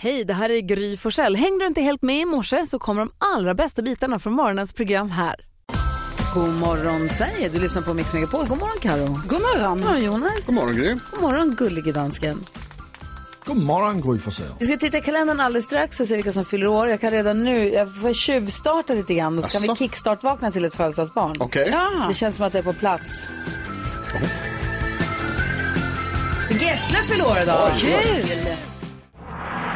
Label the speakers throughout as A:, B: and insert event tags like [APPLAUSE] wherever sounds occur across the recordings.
A: Hej, det här är Gry Forssell. Hängde du inte helt med i morse så kommer de allra bästa bitarna från morgonens program här. God morgon Sverige, du lyssnar på Mix Megapol. God morgon Karo. God morgon. God morgon Jonas. God
B: morgon Gry.
A: God morgon gullige dansken.
C: God morgon Gry Forssell.
A: Vi ska titta i kalendern alldeles strax och se vilka som fyller år. Jag kan redan nu, jag får tjuvstarta lite grann och så kan vi
B: Asså?
A: kickstart-vakna till ett födelsedagsbarn.
B: Okej.
A: Ja. Det känns som att det är på plats. Gessle fyller år idag. Kul!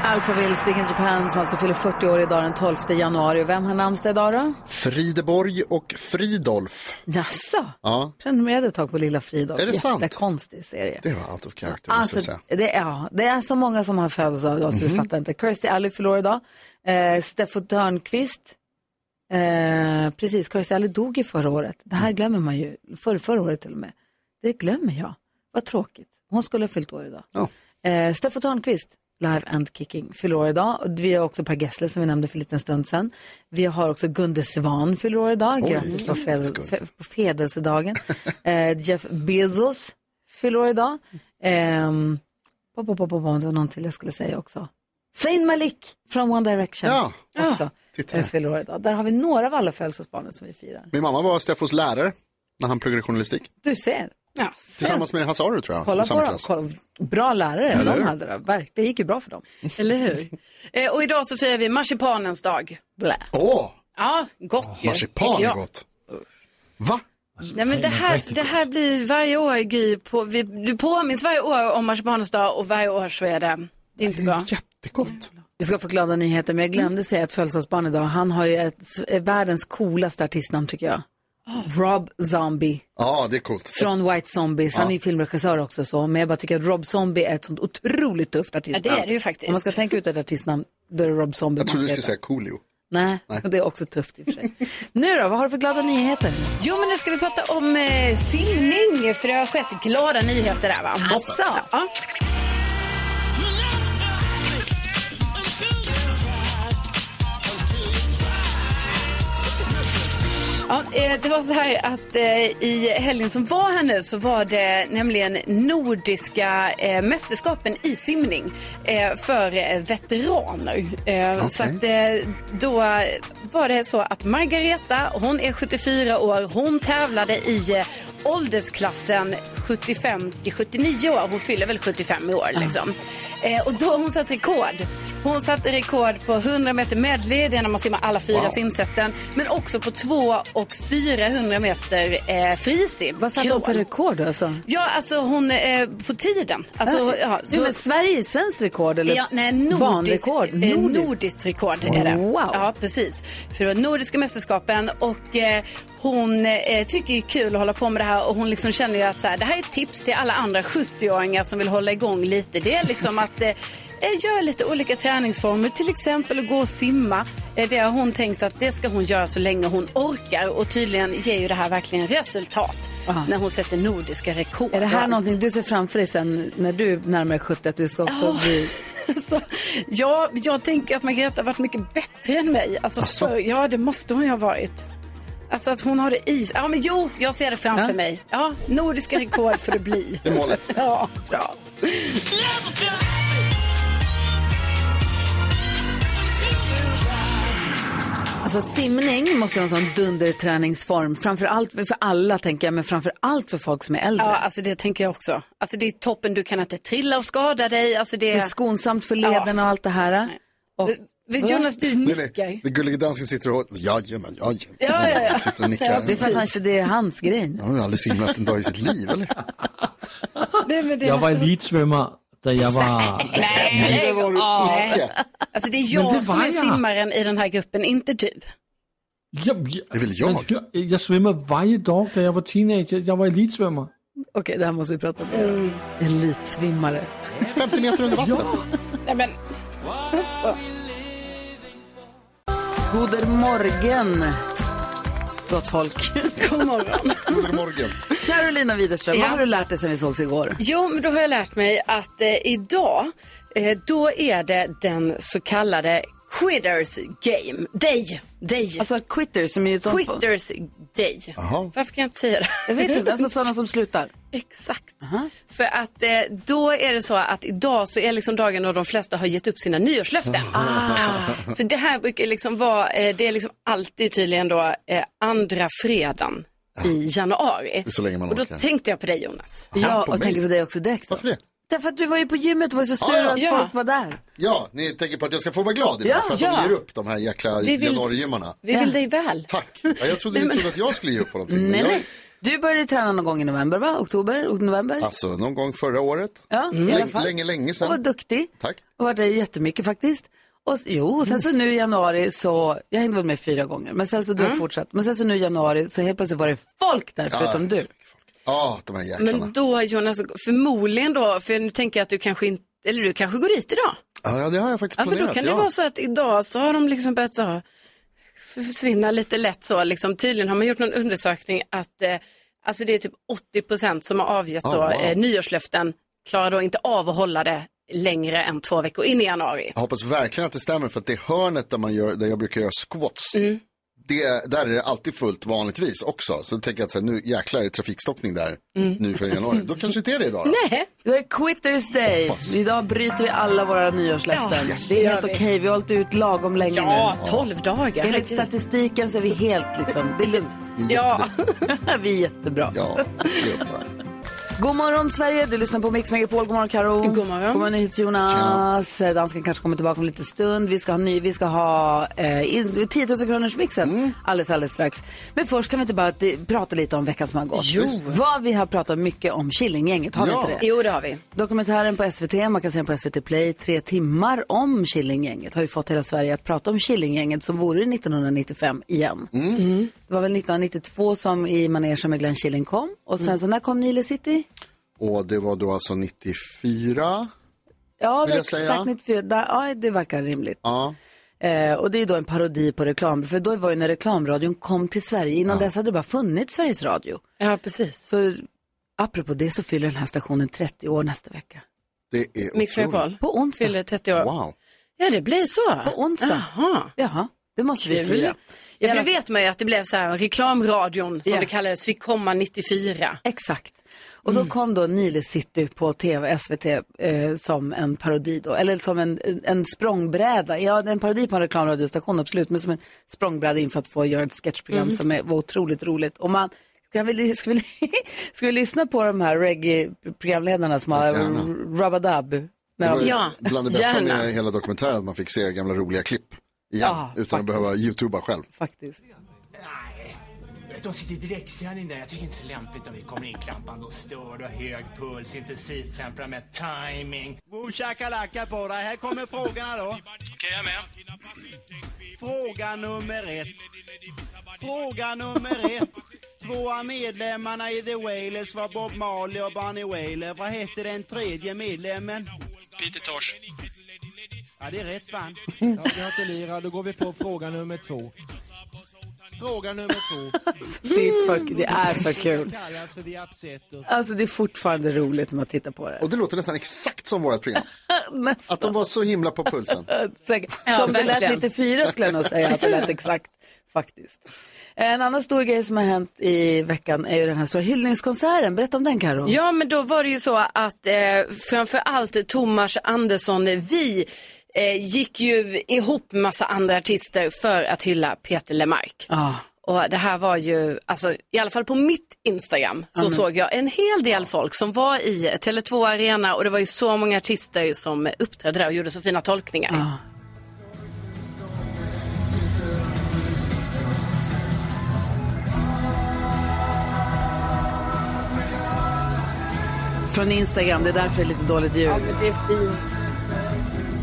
A: Alpha Wills Big in Japan som alltså fyller 40 år idag den 12 januari. Och vem har namnsdag idag då?
B: Frideborg och Fridolf.
A: Jaså?
B: Ja,
A: Prenumererade ett tag på Lilla Fridolf.
B: Är det sant?
A: Jättekonstig serie.
B: det var out of character måste jag
A: Alltså,
B: säga. Mhm.
A: det, är, ja, det är så många som har födelsedag idag så vi fattar inte. Kirstie Alley förlorade idag. Eh, Steffo Törnqvist. Eh, precis, Kirstie Alley dog ju förra året. Det
B: Mm.
A: här glömmer man ju. Förr, förra året till och med. Det glömmer jag. Vad tråkigt. Hon skulle ha fyllt år idag.
B: Ja.
A: Eh, Steffo Törnqvist, Live and Kicking, fyller år idag. Och Vi har också Per Gessle som vi nämnde för en liten stund sedan. Vi har också Gunde Svan fyller år idag.
B: Oj,
A: Grattis på,
B: grattis,
A: fed-
B: Gunde.
A: fe- på
B: [LAUGHS]
A: födelsedagen. eh, Jeff Bezos fyller år idag. Ehm, pop, pop, pop, pop, det var någon till jag skulle säga också. Zayn Malik från One Direction.
B: Ja.
A: Också.
B: titta
A: Där
B: här.
A: fyller år idag. Där har vi några av alla födelsedagsbarnen som vi firar.
B: Min mamma var Steffos lärare när han pluggade journalistik.
A: Du ser.
B: Tillsammans med Hasse Aro tror jag.
A: Kolla
B: i samma
A: på dem.
B: klass.
A: Kolla, bra lärare
B: Eller
A: de
B: hur?
A: hade. Då. Verkligen. Det gick ju bra
B: [LAUGHS]
A: för dem.
D: Eller hur? Eh, och idag så firar vi marsipanens dag.
A: Blä.
B: Åh,
D: Ja, gott ju.
B: marsipan
D: tycker
B: är
D: jag.
B: gott. Va?
D: Nej, men det, här, det här blir varje år, Gry, på, vi, du påminns varje år om marsipanens dag och varje år så är det, det är inte bra.
B: Jättegott.
A: Vi ska få glada nyheter, men jag glömde säga ett födelsedagsbarn idag. Han har ju ett, världens coolaste artistnamn tycker jag. Rob Zombie.
B: Ja, det är coolt.
A: Från White Zombies. Han är ju filmregissör också så. Men jag bara tycker att Rob Zombie är ett sånt otroligt tufft
D: Ja,
A: artistnamn.
D: det är det ju faktiskt.
A: Om man ska tänka ut ett artistnamn, då är det Rob Zombie.
B: Jag trodde
A: man
B: du
A: ska
B: skulle
A: heta.
B: säga Coolio.
A: Nej, och det är också tufft i och för sig. nu då, vad har du för glada nyheter?
D: Jo, men nu ska vi prata om eh, simning, för det har skett glada nyheter där, va? Alltså,
A: Asså?
D: Ja. Ja, eh, det var så här att eh, i helgen som var här nu så var det nämligen Nordiska eh, mästerskapen i simning eh, för eh, veteraner. Eh, Så att, eh, då var det så att Margareta, hon är 74 år, hon tävlade i eh, åldersklassen 75 till 79 år. Hon fyller väl 75 i år liksom. Eh, och då har hon satt rekord. Hon satte rekord på 100 meter medley, det är när man simmar alla fyra
B: Wow.
D: simsätten. Men också på 2 och 400 meter eh, frisim.
A: Vad satte hon för
D: Krål.
A: rekord alltså?
D: Ja, alltså hon eh, på tiden. Alltså, ja,
A: så... Ah. men Sverige, svenskt rekord eller
D: Ja, nej, nordisk,
A: barnrekord?
D: eh,
A: Nordiskt.
D: nordiskt rekord är det.
A: Wow.
D: Ja, precis. För det var Nordiska mästerskapen och eh, hon eh, tycker ju det är kul att hålla på med det här och hon liksom känner ju att så här, det här är ett tips till alla andra 70-åringar som vill hålla igång lite. Det är liksom att eh, eh, göra lite olika träningsformer, till exempel att gå och simma. Eh, det har hon tänkt att det ska hon göra så länge hon orkar och tydligen ger ju det här verkligen resultat
A: Aha.
D: när hon sätter nordiska rekord.
A: Är det
D: och
A: här
D: allt.
A: någonting du ser framför dig sen när du närmar dig 70 att du ska också bli...
D: Alltså, ja, jag tänker att Margareta har varit mycket bättre än mig. Alltså, För, ja, det måste hon ju ha varit. Alltså att hon har det i Ja, men jo, jag ser det framför
A: Ja.
D: mig. Ja, nordiska rekord får det bli.
B: Det är målet.
D: Ja, bra.
A: Alltså simning måste ju ha en sån dunderträningsform. Framför allt för alla tänker jag, men framför allt för folk som är äldre.
D: Ja, alltså det tänker jag också. Alltså det är toppen, du kan inte trilla och skada dig. Alltså det
A: Det
D: är...
A: är skonsamt för lederna och allt det här. Och,
D: Jonas, du
B: Nej, nej.
D: nickar.
B: Den gullige dansken sitter och, jajamän, jajamän.
D: Ja, ja, ja.
B: Sitter och nickar.
A: det är för att han, det är hans grej.
B: Han har aldrig simlat en dag i sitt liv, eller?
D: Nej, men det
C: Jag var
D: måste-
C: elitsvömmare där jag var...
D: Nej,
B: Det var du
D: ja.
B: inte.
D: Alltså det är
C: Men
D: jag
C: det
D: som
C: var
D: är
C: jag.
D: simmaren i den här gruppen, inte du.
C: Jag, jag,
B: Det är väl jag?
C: jag, jag svämmade varje dag där jag var teenager. Jag var elitsvömmare.
A: Okej, det här måste vi prata om.
D: Mm.
A: Elitsvimmare.
B: 50 meter under vatten.
D: Nej, men...
A: Goder morgon, gott folk.
D: God morgon.
B: God morgon.
A: [LAUGHS] Carolina Widerström,
D: Ja.
A: vad har du lärt dig sen vi sågs igår?
D: Jo, men då har jag lärt mig att eh, idag, eh, då är det den så kallade Quitters game. Day. Day.
A: Alltså quitter som är ju sånt-
D: Quitters day.
B: Jaha.
D: Varför kan jag inte säga det?
A: Jag vet inte, alltså sådana som slutar.
D: [LAUGHS] Exakt. För att eh, då är det så att idag så är liksom dagen då de flesta har gett upp sina nyårslöften.
A: Ah.
D: Så det här brukar liksom vara, eh, det är liksom alltid tydligen då eh, andra fredagen i januari.
B: Det är så länge man
D: Och då
B: orkar.
D: tänkte jag på dig Jonas.
A: Ja,
B: på
A: och
B: mig.
A: tänker på dig också direkt. då.
B: Varför det?
A: Därför att du var ju på gymmet och var så sur
B: Ja, ja.
A: att
D: Ja.
A: folk var där.
B: Ja, ni tänker på att jag ska få vara glad idag
A: Ja,
B: för att
A: ja.
B: de ger upp de här jäkla
D: Vi vill-
B: januarigymmarna.
D: Vi vill dig väl.
B: Tack. Ja, jag trodde ni trodde att jag skulle ge upp på någonting. men
A: Nej,
B: jag...
A: nej. Du började träna någon gång i november, va? Oktober? ok- November?
B: Alltså, någon gång förra året.
A: Ja, i alla
B: Länge,
A: fall.
B: länge, länge
A: Och var
B: sedan.
A: duktig.
B: Tack.
A: Och var det jättemycket faktiskt. Och, s- jo, och sen så nu i januari så, jag hängde väl med fyra gånger, men sen så
B: Mm.
A: du har fortsatt. Men sen så nu i januari så helt plötsligt var det folk där förutom du.
B: Ah, Ja, de här jäklarna.
D: Men då Jonas, förmodligen då, för nu tänker jag att du kanske inte, eller du kanske går dit idag.
B: Ja, det har jag faktiskt
D: Ja, men
B: planerat.
D: då kan det
B: ja.
D: vara så att idag så har de liksom börjat så, försvinna lite lätt så. Liksom, tydligen har man gjort någon undersökning att eh, alltså det är typ 80 procent som har avgett
B: Ah,
D: då,
B: wow.
D: eh, nyårslöften klarar då inte av att hålla det längre än två veckor in i januari.
B: Jag hoppas verkligen att det stämmer för att det hörnet där, man gör, där jag brukar göra squats,
D: Mm.
B: det, där är det alltid fullt vanligtvis också. Så då tänker jag att så här, nu jäklar är det trafikstockning där nu från januari. Då kanske inte är det idag då.
D: Mm. Nej.
A: Det är Quitters Day. Idag bryter vi alla våra nyårslöften.
D: Ja,
A: Det är
D: gör
A: helt
D: vi.
A: okej, vi har hållit ut lagom länge
D: Ja,
A: nu.
D: 12 dagar.
A: Enligt statistiken så är vi helt liksom, det är lugnt.
B: Det är
D: Ja,
B: jättebra.
A: [LAUGHS] vi är jättebra.
B: Ja, det är bra.
A: God morgon Sverige, du lyssnar på Mix Megapol. God morgon Karo.
D: God morgon.
A: God morgon Jonas. Dansken kanske kommer tillbaka om lite stund. Vi ska ha ny, vi ska ha eh, in- 10 000 kronors mixen
B: Mm.
A: alldeles, alldeles strax. Men först kan vi inte bara eh, prata lite om veckan som har gått.
B: Jo.
A: Vad vi har pratat mycket om Killinggänget, har vi
B: Ja.
A: inte det?
D: jo det har vi.
A: Dokumentären på SVT, man kan se den på SVT Play, tre timmar om Killinggänget har ju fått hela Sverige att prata om Killinggänget som vore 1995 igen.
B: Mm.
A: Det var väl 1992 som i manegen med Glenn Killing kom och
B: Mm.
A: sen så när kom Nile City?
B: Och det var då alltså 94.
A: Ja,
B: Vill jag säga?
A: exakt 94, där, ja, det verkar rimligt.
B: Ja,
A: Eh, och det är då en parodi på reklam, för då var ju när reklamradion kom till Sverige, innan dess hade det bara funnits Sveriges Radio.
D: Ja, precis.
A: Så apropå det så fyller den här stationen 30 år nästa vecka.
B: det är
D: Mix
B: otroligt.
D: Megapol
A: På onsdag.
D: fyller 30 år.
B: Wow.
D: Ja, det blir så.
A: På onsdag.
D: Jaha.
A: Jaha, det måste vi
D: Kul.
A: fira.
D: Ja, för det vet man ju att det blev så här, reklamradion som
A: Ja.
D: det kallades fick komma 94.
A: Exakt. Och då
B: Mm.
A: kom då Nile City på TV, SVT eh, som en parodi då, eller som en, en- en språngbräda. Ja, det är en parodi på en reklamradiostation, absolut, men som en språngbräda inför att få göra ett sketchprogram
B: Mhm.
A: som är, var otroligt roligt. Och man, ska vi, ska, vi, [LAUGHS] ska vi lyssna på de här reggae-programledarna som har
B: Gärna.
A: rubba-dub? När
B: Det var
A: de,
B: ju
D: Ja,
B: bland det bästa
D: gärna.
B: med hela dokumentären, att man fick se gamla roliga klipp igen,
A: Ja,
B: utan att
A: faktiskt.
B: behöva youtuba själv.
A: faktiskt.
E: Nej, de sitter i direktsändning där. Jag tycker inte det är lämpligt om vi kommer inklampande och stör. Du har hög puls, intensivt temperament, timing.
F: Bo shakalaka på dig. Här kommer frågorna då.
E: Okej, jag är med.
F: Fråga nummer ett. Fråga nummer ett. Två av medlemmarna i The Wailers var Bob Marley och Bunny Wailer. Vad hette den tredje medlemmen?
E: Peter Tosh.
F: Ja, det är rätt fan.
G: Ja, gratulerar, då går vi på fråga nummer två. Fråga nummer två
A: Det är, för, det är för
B: Mm.
A: kul.
G: kallas för The Upsetter.
A: Alltså det är fortfarande roligt när man tittar på det. [LAUGHS]
B: Och det låter nästan exakt som vårt program.
A: Nästan.
B: Att de var så himla på pulsen.
A: Säkert.
D: Ja,
A: som det lät
D: verkligen.
A: 94 skulle jag nog säga att det
D: [LAUGHS]
A: lät exakt faktiskt. En annan stor grej som har hänt i veckan är ju den här stora hyllningskonserten. Berätta om den Karo.
D: Ja, men då var det ju så att eh, framför allt Thomas Andersson, vi eh, gick ju ihop massa andra artister för att hylla Peter Lemark.
A: Ah,
D: Och det här var ju, alltså, i alla fall på mitt Instagram så såg jag en hel del folk som var i Tele2 Arena och det var ju så många artister som uppträdde där och gjorde så fina tolkningar.
A: från Instagram, det är därför det är lite dåligt ljud.
D: det är fint.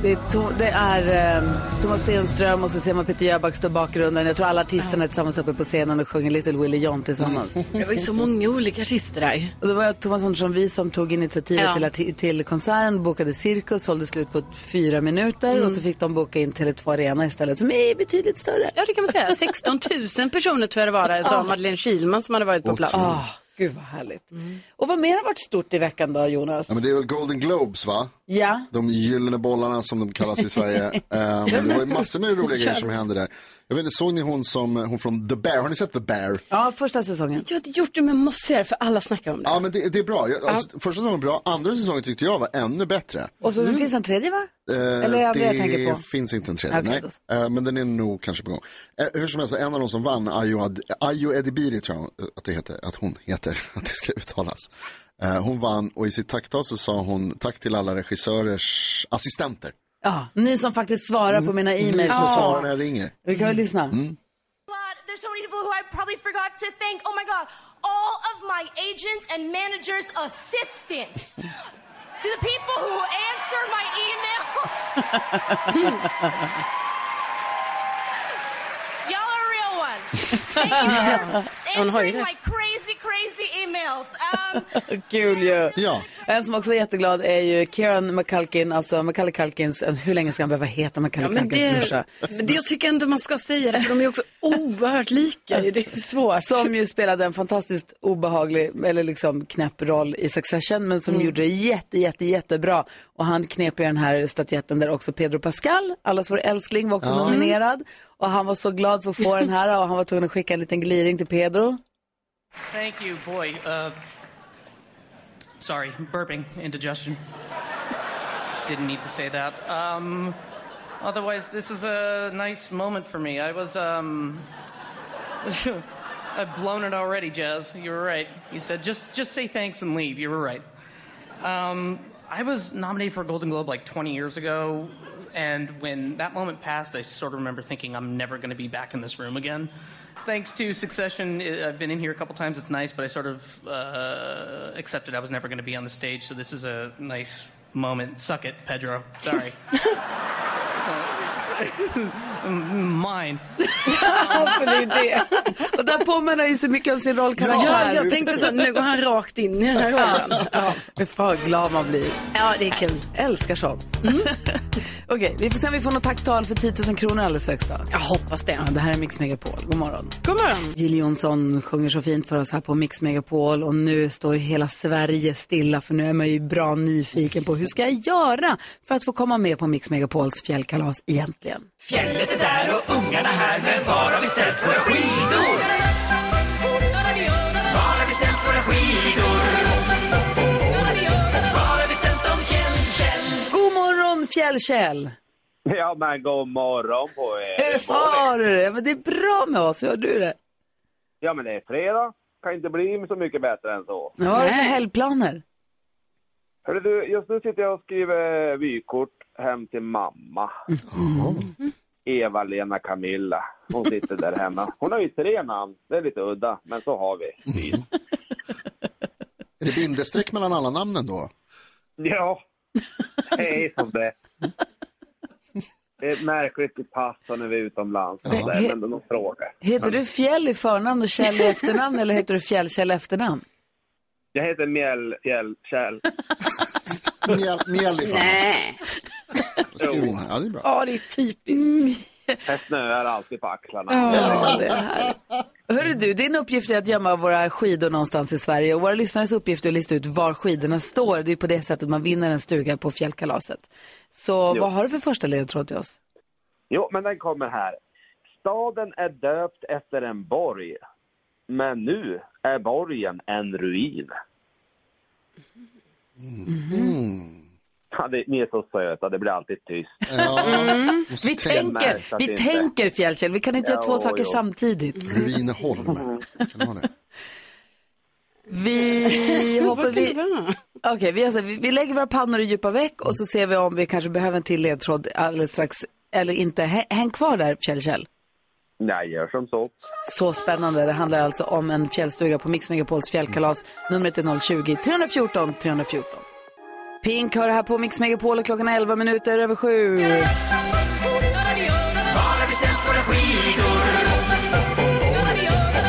A: Det är, to- det är ehm, Thomas Stenström och så ser man Peter Jöback stå i bakgrunden. Jag tror alla artisterna är tillsammans uppe på scenen och sjunger Little Willie John tillsammans.
D: Det var ju så många olika artister där.
A: Och det var Thomas Andersson vi som tog initiativet
D: Ja.
A: till, arti- till konserten, bokade cirkus, sålde slut på fyra minuter
D: Mm.
A: och så fick de boka in Tele2 Arena istället som är betydligt större.
D: Ja, det kan man säga. 16 000 personer tror jag det var där, sa Madeleine Kilman som hade varit på plats.
A: Ah, gud vad härligt. Och vad mer har varit stort i veckan då Jonas?
B: Ja, men det är väl Golden Globes va?
A: Ja.
B: De gyllene bollarna som de kallas i Sverige.
A: [LAUGHS]
B: Ehm, det var ju massor med roliga grejer som hände där. Jag vet inte, såg ni hon som, eh, hon från The Bear? Har ni sett The Bear?
A: Ja, första säsongen.
D: Jag har inte gjort det men måste se det för alla snackar om det.
B: Ja, men det, det är bra. Jag, alltså, Första säsongen var bra, andra säsongen tyckte jag var ännu bättre.
A: Och så finns en tredje va?
B: Mm. Eh,
A: Eller är det andra jag tänker på?
B: finns inte en tredje,
A: Okej,
B: nej.
A: då så.
B: Eh, men den är nog kanske på gång. Eh, hur som helst, en av de som vann, Ayo, Ad- Ayo Edibiri tror jag eh, att, det heter, att hon heter, [LAUGHS] att det ska uttalas. Eh, hon vann och i sitt tacktal så sa hon tack till alla regissörers assistenter.
A: Ja, ni som faktiskt svarar på mina
B: Mm. Ni
A: e-mails.
B: som svarar Mm.
A: Ja.
B: när jag ringer.
A: Vi kan väl lyssna.
H: God, there's so many people who I probably forgot to thank. Oh my God, all of my agents and managers' assistants. to the people who answer my emails. [LAUGHS] Y'all are real ones. Thank you for
D: Hon har ju
H: answering my crazy, crazy emails. Um,
A: [LAUGHS] Kul ju.
B: Ja,
A: En som också är jätteglad är ju Kieran McCulkin, alltså McCully Culkins, hur länge ska han behöva heta McCully
D: Ja, men
A: Culkins
D: det,
A: morsa?
D: men det jag tycker ändå man ska säga det, för de är ju också oerhört lika. ju. Det är svårt.
A: Som ju spelade en fantastiskt obehaglig, eller liksom knäpp roll i Succession, men
D: Mm.
A: som gjorde det jätte, jätte, jättebra. Och han knep ju den här statyetten där också Pedro Pascal, allas vår älskling, var också nominerad. Och han var så glad för att få den här och han var tvungen att skicka en liten gliring till Pedro.
I: Thank you, boy. Uh, sorry, burping, indigestion. Didn't need to say that. Um, otherwise, this is a nice moment for me. I was, um, I've blown it already, Jazz. You were right. You said just just say thanks and leave. You were right. Um, I was nominated for a Golden Globe like 20 years ago, and when that moment passed, I sort of remember thinking I'm never going to be back in this room again. Thanks to Succession, i I've been in here a couple times. It's nice, but I sort of uh, accepted I was never going to be on the stage, so this is a nice moment. Suck it, Pedro. Sorry. Mine.
A: Alltså det är det. Och där påminner ju så mycket om sin roll
D: Ja,
A: karaktär.
D: jag tänkte så. Nu går han rakt in i den här rollen.
A: Ja, men fan vad glad man blir.
D: Ja, det är kul.
A: Älskar sånt.
D: Mm.
A: [LAUGHS] Okej, vi får se om vi får något tacktal för 10 000 kronor alldeles strax då.
D: Jag hoppas det.
A: Ja, det här är Mix Megapol. God morgon.
D: God morgon.
A: Jill Johnson sjunger så fint för oss här på Mix Megapol och nu står ju hela Sverige stilla för nu är man ju bra nyfiken på hur ska jag göra för att få komma med på Mix Megapols fjällkalas egentligen?
F: Fjället är där och ungarna här, men var har vi ställt våra skidor? Var har vi ställt våra skidor? Var har vi ställt dem, Kjell, Kjell?
A: God morgon Fjällkäll!
J: Ja, men god morgon på er.
A: Hur har du det? Men det är bra med oss, hur har du det?
J: Ja, men det är fredag. Kan inte bli så mycket bättre än så.
A: Vad har du för helgplaner?
J: [LAUGHS] Hörru du, just nu sitter jag och skriver vykort hem till mamma.
B: Mm.
J: Eva-Lena Camilla. Hon sitter där hemma. Hon har ju tre namn. Det är lite udda, men så har vi.
B: är det bindestreck mellan alla namnen då?
J: Ja, det är som det Det är ett märkligt pass när vi är utomlands. och sådär, Men de frågar.
A: Heter du Fjäll i förnamn och Kjell i efternamn eller heter du Fjällkäll i efternamn?
J: Jag heter Mjäll, Fjäll, Kjell.
B: Mjäll- Mjäll ifrån.
D: Nej.
B: Skriv in här. Ja, det är bra.
D: Ja, det är typiskt.
J: Det snöar alltid på axlarna.
A: Ja, det är härligt. Hörru du, din uppgift är att gömma våra skidor någonstans i Sverige och våra lyssnares uppgift är att lista ut var skidorna står. Det är på det sättet man vinner en stuga på fjällkalaset. Så vad har du för första ledtråd till oss?
J: Jo, men den kommer här. Staden är döpt efter en borg, men nu är borgen en ruin. Ja, det, ni är så söta, det blir alltid tyst.
B: Ja, måste
A: Mm. Vi
B: tänka.
A: tänker, vi
J: inte.
A: tänker fjällkäll, vi kan inte göra två
J: Jo,
A: saker
J: jo.
A: samtidigt.
B: Ruineholm. Kan det vara det?
A: [LAUGHS] Vi hoppar, vi,
D: Ja.
A: Okej, vi, alltså, vi, vi lägger våra pannor i djupa veck och så ser vi om vi kanske behöver en till ledtråd alldeles strax eller inte. Häng, häng kvar där, Fjäll Kjell.
J: Jag gör som så.
A: Så spännande. Det handlar alltså om en fjällstuga på Mix Megapols fjällkalas. Numret är 020 314 314. Pink hör här på Mix Megapol och klockan är 11 minuter över sju.
F: Var har vi ställt våra skidor?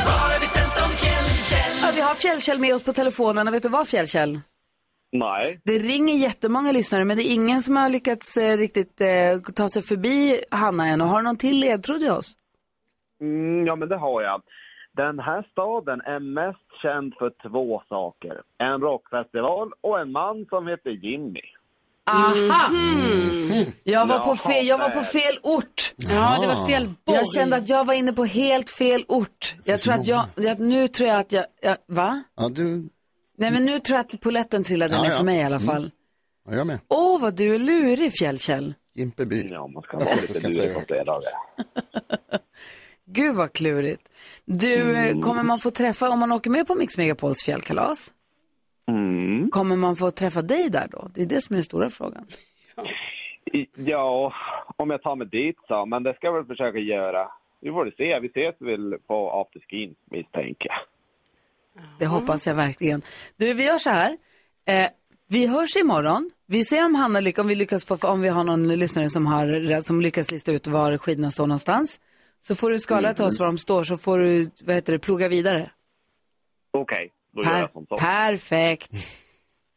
F: Var har vi ställt dem, Kjell, Kjell?
A: Ja, vi har Fjällkäll med oss på telefonen och vet du vad Fjällkäll?
J: Nej.
A: Det ringer jättemånga lyssnare men det är ingen som har lyckats eh, riktigt eh, ta sig förbi Hanna än. Och har du någon till ledtråd till oss?
J: Mm, ja, men det har jag. Den här staden är mest känd för två saker. En rockfestival och en man som heter Jimmy.
A: Aha!
B: Mm.
D: Mhm.
A: Jag, var på
D: Jaha,
A: fel, jag var på
D: där.
A: fel ort.
D: Ja, det var fel borg.
A: Jag kände att jag var inne på helt fel ort. Jag tror att jag, jag, nu tror jag att jag, jag, va?
B: Ja, du...
A: Nej men nu tror jag att poletten trillade ner för mig i alla
B: Mm.
A: fall.
B: Ja, jag med.
A: Åh, vad du är lurig Fjällkäll.
B: Jimpeby.
J: Ja, man ska
B: Jag
J: vara
B: får- jag
J: lite
B: ska inte säga
J: lurig på fredagar.
A: Gud vad klurigt. Du, eh, kommer man få träffa, om man åker med på Mix Megapols fjällkalas, kommer man få träffa dig där då? Det är det som är den stora frågan.
J: I- Ja, om jag tar mig dit så. Men det ska jag väl försöka göra. Vi får se. Vi ses väl på afterskin misstänker jag.
A: Det hoppas jag verkligen. Du, vi gör så här. Eh, vi hörs imorgon. Vi ser om Hanna lyckas, om vi lyckas få, om vi har någon lyssnare som, har, som lyckas lista ut var skidorna står någonstans. Så får du skala till oss var de står, så får du, vad heter det, plugga vidare.
J: Okej, då gör
A: Per-
J: jag som så.
A: perfekt. [LAUGHS]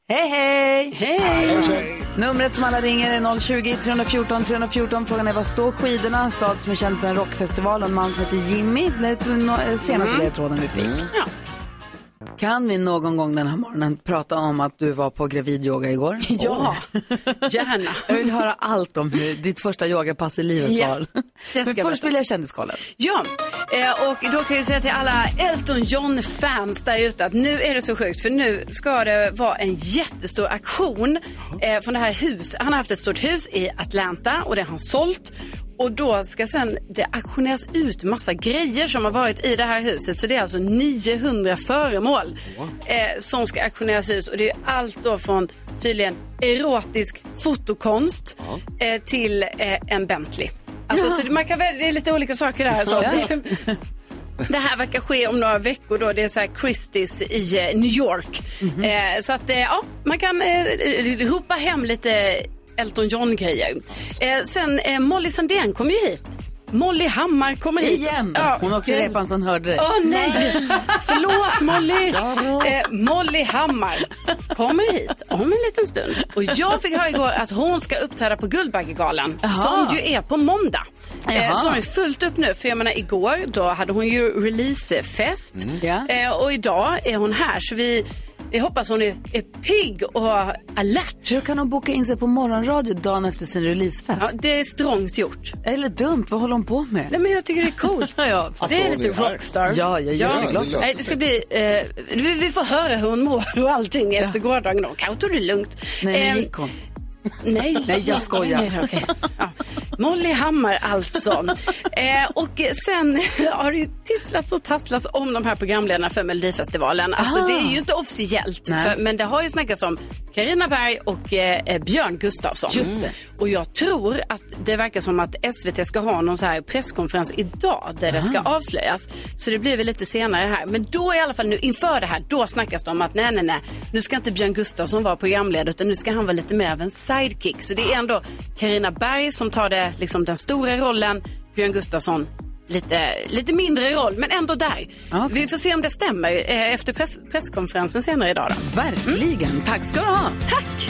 A: Hej, hej!
J: Hej!
A: Numret som alla ringer är 020-314 314. Frågan är var står skidorna? En stad som är känd för en rockfestival och en man som heter Jimmy. Det var no- eh, senaste
D: Mm.
A: ledtråden vi fick. Kan vi någon gång den här morgonen prata om att du var på gravidyoga igår?
D: [LAUGHS] Ja, gärna.
A: Jag vill höra allt om hur ditt första yogapass i livet
D: Ja,
A: var.
D: det ska
A: [LAUGHS] Men
D: jag
A: först
D: berätta.
A: vill jag kändiskollen.
D: Ja, eh, och då kan jag ju säga till alla Elton John-fans där ute att nu är det så sjukt för nu ska det vara en jättestor aktion eh, från det här huset. Han har haft ett stort hus i Atlanta och det har han sålt. Och då ska sen det auktioneras ut massa grejer som har varit i det här huset. Så det är alltså 900 föremål eh, som ska auktioneras ut. Och det är allt då från tydligen erotisk fotokonst eh, till eh, en Bentley. Alltså,
A: Jaha.
D: så det- man kan väl, det är lite olika saker där. Så
A: Ja.
D: det, [LAUGHS] det här verkar ske om några veckor. Då. Det är så här Christie's i eh, New York. Eh, så att eh, ja, man kan eh, ropa hem lite Elton John-grejer. Eh, sen eh, Molly Sandén kommer ju hit. Molly Hammar kommer hit.
A: Igen?
D: Ja,
A: Hon åkte
D: igen.
A: repan så hon hörde dig.
D: Åh nej! Förlåt Molly! [LAUGHS]
A: Karo.
D: Eh, Molly Hammar kommer hit om en liten stund. Och jag fick höra igår att hon ska uppträda på Guldbaggegalan
A: Jaha.
D: som ju är på måndag. Eh,
A: Jaha.
D: så hon har ju fullt upp nu. För jag menar igår då hade hon ju releasefest.
A: Ja.
D: Eh, och idag är hon här så vi, vi hoppas hon är, är pigg och alert.
A: Hur kan hon boka in sig på morgonradio dagen efter sin releasefest?
D: Ja, det är strångt gjort.
A: Eller dumt, vad håller hon på med?
D: Nej, men jag tycker det är coolt.
A: [LAUGHS] ja,
D: det är lite rockstar.
A: Alltså, Ja, jag är jätteglad.
D: det, Nej, det ska bli, eh, vi, vi får höra hur hon mår och allting efter gårdagen. Då kanske tog det lugnt.
A: Nej,
D: Eh,
A: nu gick hon.
D: Nej,
A: [LAUGHS] Nej, jag skojar.
D: Nej, okej. Ja. Molly Hammar alltså. Eh, och sen [LAUGHS] har det ju tisslats och tasslats om de här programledarna för Melodifestivalen. Alltså
A: Ah.
D: det är ju inte officiellt,
A: Nej.
D: för, men det har ju snackats om Carina Berg och eh, eh, Björn Gustafsson.
A: Just det.
D: Och jag tror att det verkar som att SVT ska ha någon så här presskonferens idag där det ska avslöjas. Så det blir väl lite senare här. Men då i alla fall nu inför det här, då snackas det om att nej, nej, nej. Nu ska inte Björn Gustafsson vara programledare utan nu ska han vara lite mer av en sidekick. Så det är ändå Carina Berg som tar det, liksom, den stora rollen, Björn Gustafsson Lite, lite mindre roll, men ändå där. Vi får se om det stämmer eh, efter press, presskonferensen senare idag. Då.
A: Verkligen. Tack ska du ha.
D: Tack!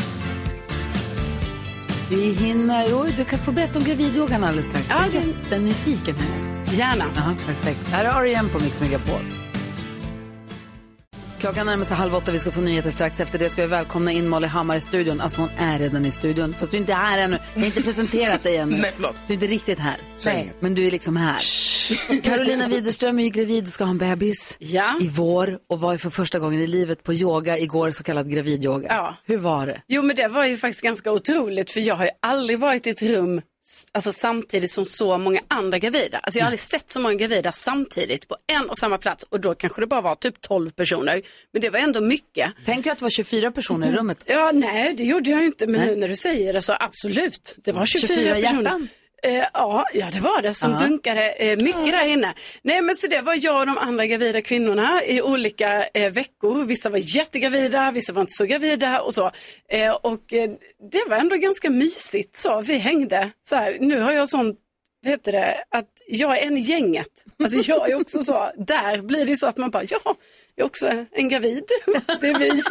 A: Vi hinner... Oj, du kan få berätta om gravidyogan alldeles strax.
D: Ja,
A: jag är
D: det-
A: jättenyfiken här.
D: Gärna.
A: Ja, perfekt. Här är R.E.M. på Mix Megapol. Klockan närmar sig halv åtta, vi ska få nyheter strax. Efter det ska vi välkomna in Molly Hammar i studion. Alltså hon är redan i studion, fast du är inte här ännu. Jag har inte presenterat dig ännu.
K: Nej, förlåt.
A: Du är inte riktigt här.
B: Säg
A: Nej.
B: inget.
A: Men du är liksom här. Carolina Widerström är ju gravid och ska ha en bebis
D: Ja.
A: i vår och var ju för första gången i livet på yoga igår, så kallad gravidyoga.
D: Ja.
A: Hur var det?
D: Jo men det var ju faktiskt ganska otroligt för jag har ju aldrig varit i ett rum s- alltså, samtidigt som så många andra gravida. Alltså, jag har aldrig sett så många gravida samtidigt på en och samma plats och då kanske det bara var typ 12 personer. Men det var ändå mycket.
A: Tänker du att det var 24 personer i rummet?
D: Ja, nej det gjorde jag ju inte men
A: Nej.
D: nu när du säger det så absolut. Det var 24,
A: 24
D: personer.
A: hjärtan?
D: Eh, ja, ja, det var det som
A: Ja.
D: dunkade eh, mycket där inne. Nej, men så det var jag och de andra gravida kvinnorna i olika eh, veckor. Vissa var jättegravida, vissa var inte så gravida och så. Eh, och eh, det var ändå ganska mysigt så. Vi hängde så här. Nu har jag sån vad heter det, att jag är en i gänget. Alltså jag är också så, där blir det ju så att man bara, ja, jag är också en gravid, det är vi.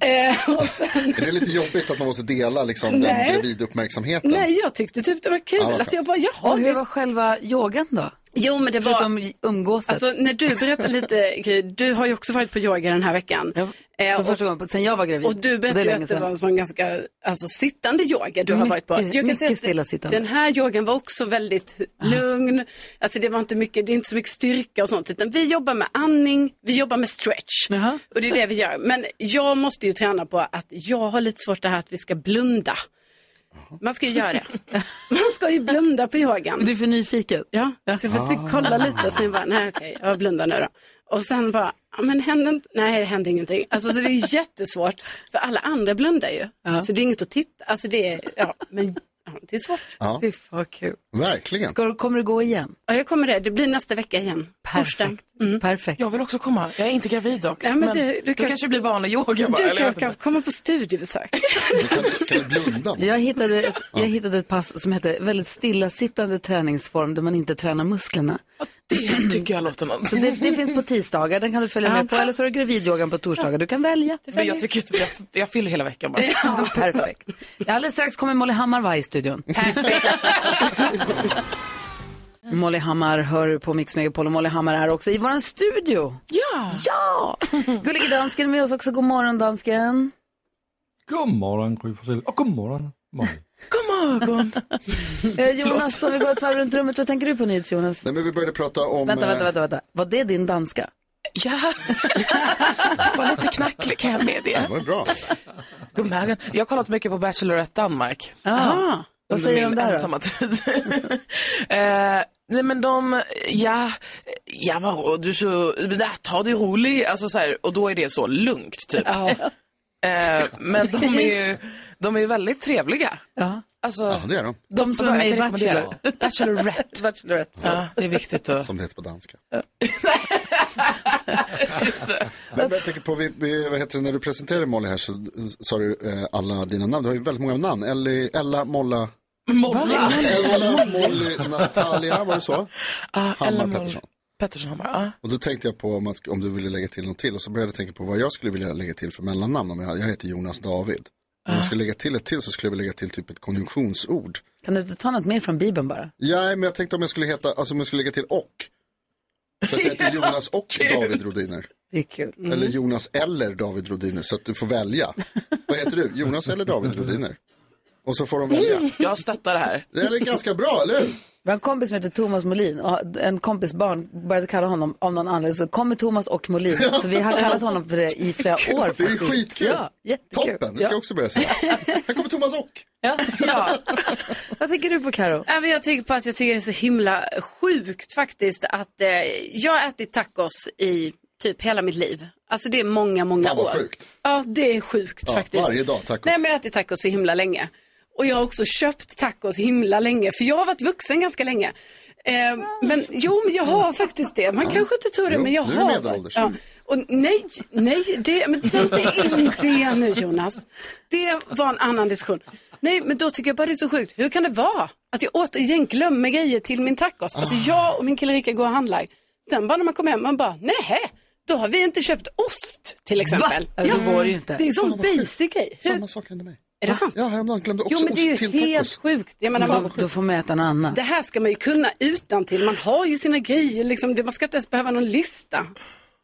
D: Eh, och sen,
B: Är det lite jobbigt att man måste dela liksom, den
D: Nej.
B: graviduppmärksamheten?
D: nej, jag tyckte typ det var kul
B: Ja, vad
D: att jag bara, jaha,
A: Och hur
D: visst.
A: var själva yogan då?
D: Jo, men det var...
A: Förutom umgåset.
D: Alltså, när du berättar lite, Gry, du har ju också varit på yoga den här veckan. Ja,
A: för första gången på- sen jag var gravid.
D: eh, Och du
A: Det är
D: berättade
A: länge
D: att det
A: sedan.
D: var en sån ganska alltså, sittande yoga du har varit på.
A: Mycket-
D: kan
A: mycket
D: säga att
A: stillasittande.
D: Den här yogan var också väldigt lugn. Alltså, det, var inte mycket, det är inte så mycket styrka och sånt. Utan vi jobbar med andning, vi jobbar med stretch. Och det är det vi gör. Men jag måste ju träna på att jag har lite svårt det här att vi ska blunda. Man ska ju
A: [LAUGHS]
D: göra det. Man ska ju blunda på yogan.
A: Du är för nyfiken.
D: Ja, Ah. så jag får typ kolla lite och sen bara, nej okej, jag blundar nu då. Och sen bara, ja, men hände inte, nej det hände ingenting. Alltså så det är jättesvårt, för alla andra blundar ju.
A: Ja.
D: Så det är inget att titta, alltså det är, ja, men ja, det är svårt.
B: Ja.
A: Det är för kul.
B: Verkligen.
A: Ska, du- kommer du gå igen?
D: Ja, jag kommer det, det blir nästa vecka igen. Torsdag. Mm.
A: Perfekt.
I: Jag vill också komma. Jag är inte gravid dock.
D: Ja, men det- du
I: då
D: kan-
I: kanske det blir vanlig yoga bara.
D: Du
I: eller jag
D: kan,
I: vet inte.
D: kan komma på studiebesök.
A: Jag hittade, ett, jag hittade ett pass som hette väldigt stillasittande träningsform där man inte tränar musklerna.
I: Det tycker jag låter något.
A: Så det, det finns på tisdagar, den kan du följa med på. Eller så har du gravidyogan på torsdagar, du kan välja.
I: Men jag tycker inte, jag, jag fyller hela veckan bara.
A: Ja, perfekt. Alldeles strax kommer Molly Hammar vara i studion. Molly Hammar hör på Mix Megapol och Molly Hammar är också i vår studio.
I: Ja!
A: Ja! Gullige dansken är med oss också. God morgon dansken.
C: God morgon Gry Forssell och god morgon Molly.
I: God morgon.
A: Eh, Jonas, om vi går ett varv runt rummet, vad tänker du på nyhets Jonas?
B: Nej, men vi började prata om...
A: Vänta,
B: eh,
A: vänta, vänta, vänta. Var det din danska?
I: Ja, [LAUGHS] var lite knacklig kan jag medge.
B: Det var bra.
I: God morgon. Jag har kollat mycket på Bachelorette Danmark.
A: Aha. Vad
I: Under
A: säger de
I: min
A: där då?
I: ensamma tid. [LAUGHS] eh, nej men de, ja, ja vad du så, ja, ta det roligt, alltså så här, och då är det så lugnt typ. Eh, men de är ju, de är ju väldigt trevliga.
A: Ja.
I: Alltså,
B: Ja, det är de.
A: De som är
I: jag
A: med i
I: kan rekommendera.
A: Bachelor. [LAUGHS]
I: Bachelorette.
A: Bachelorette.
I: Ja, det är viktigt att...
B: Som det heter på danska.
I: [LAUGHS]
B: Nej, men jag tänker på, vi, vi, vad heter det, när du presenterade Molly här så s- sa du eh, alla dina namn. Du har ju väldigt många namn. Ellie, Ella, Molla,
I: Molla.
B: Ella, Molly, Natalia, var det så?
I: Ja,
B: Hammar
I: Ellen Moll-
B: Pettersson.
I: Pettersson Hammar, ja.
B: Och då tänkte jag på om, man, sk- om du ville lägga till något till och så började jag tänka på vad jag skulle vilja lägga till för mellannamn. Om jag, jag heter Jonas David. Om jag skulle lägga till ett till så skulle jag vilja lägga till typ ett konjunktionsord.
A: Kan du inte ta något mer från Bibeln bara?
B: Ja, men jag tänkte om jag skulle heta, alltså om jag skulle lägga till och. Så att jag
D: [LAUGHS]
B: heter Jonas och David Rodiner.
A: Det är kul.
D: Mm.
B: Eller Jonas eller David Rodiner, så att du får välja. Vad heter du? Jonas eller David Rodiner? Och så får de
D: Mm.
B: välja.
I: Jag stöttar det här.
B: Det är ganska bra, eller hur?
A: Vi har en kompis som heter Thomas Molin och en kompis barn började kalla honom av någon anledning så kommer Thomas och Molin. Så vi har kallat honom för det i flera år.
B: Det är ju
A: faktiskt.
B: skitkul.
A: Ja, jättekul.
B: Toppen, det ska jag
A: ja.
B: också börja säga. Här kommer Thomas och.
A: Ja. ja. [LAUGHS] Vad tänker du på Karo?
D: Ja, men jag tänker på att jag tycker det är så himla sjukt faktiskt att eh, jag har ätit tacos i typ hela mitt liv. Alltså det är många, många
B: Fan
D: år.
B: vad sjukt.
D: Ja, det är sjukt
B: Ja,
D: faktiskt.
B: varje dag tacos.
D: Nej, men jag har ätit tacos så himla länge. Och jag har också köpt tacos himla länge, för jag har varit vuxen ganska länge. Eh, men jo, men jag har faktiskt det. Man kanske inte tror det,
B: Jo,
D: men jag
B: nu är du
D: har.
B: medelålders.
D: Ja. Och nej, nej, det, men vänta in det nu Jonas. Det var en annan diskussion. Nej, men då tycker jag bara det är så sjukt. Hur kan det vara att jag återigen glömmer grejer till min tacos? Alltså
B: Ah.
D: jag och min kille Rickard går och handlar. Sen bara när man kommer hem, man bara, nej, då har vi inte köpt ost till exempel.
A: Ja, det går ju inte.
D: Det är en sån
B: Fan, vad sjukt.
D: basic grej. Hur,
B: Samma sak hände mig.
D: är det sant?
B: Ja, häromdagen glömde också
D: Jo, men det är
B: ost
D: ju
B: till
D: helt
B: tacos. Mm.
D: sjukt. Jag menar,
A: Då,
D: man,
A: då får man äta en annan.
D: det här ska man ju kunna utan till. Man har ju sina grejer, liksom. Det- man ska inte ens behöva någon lista.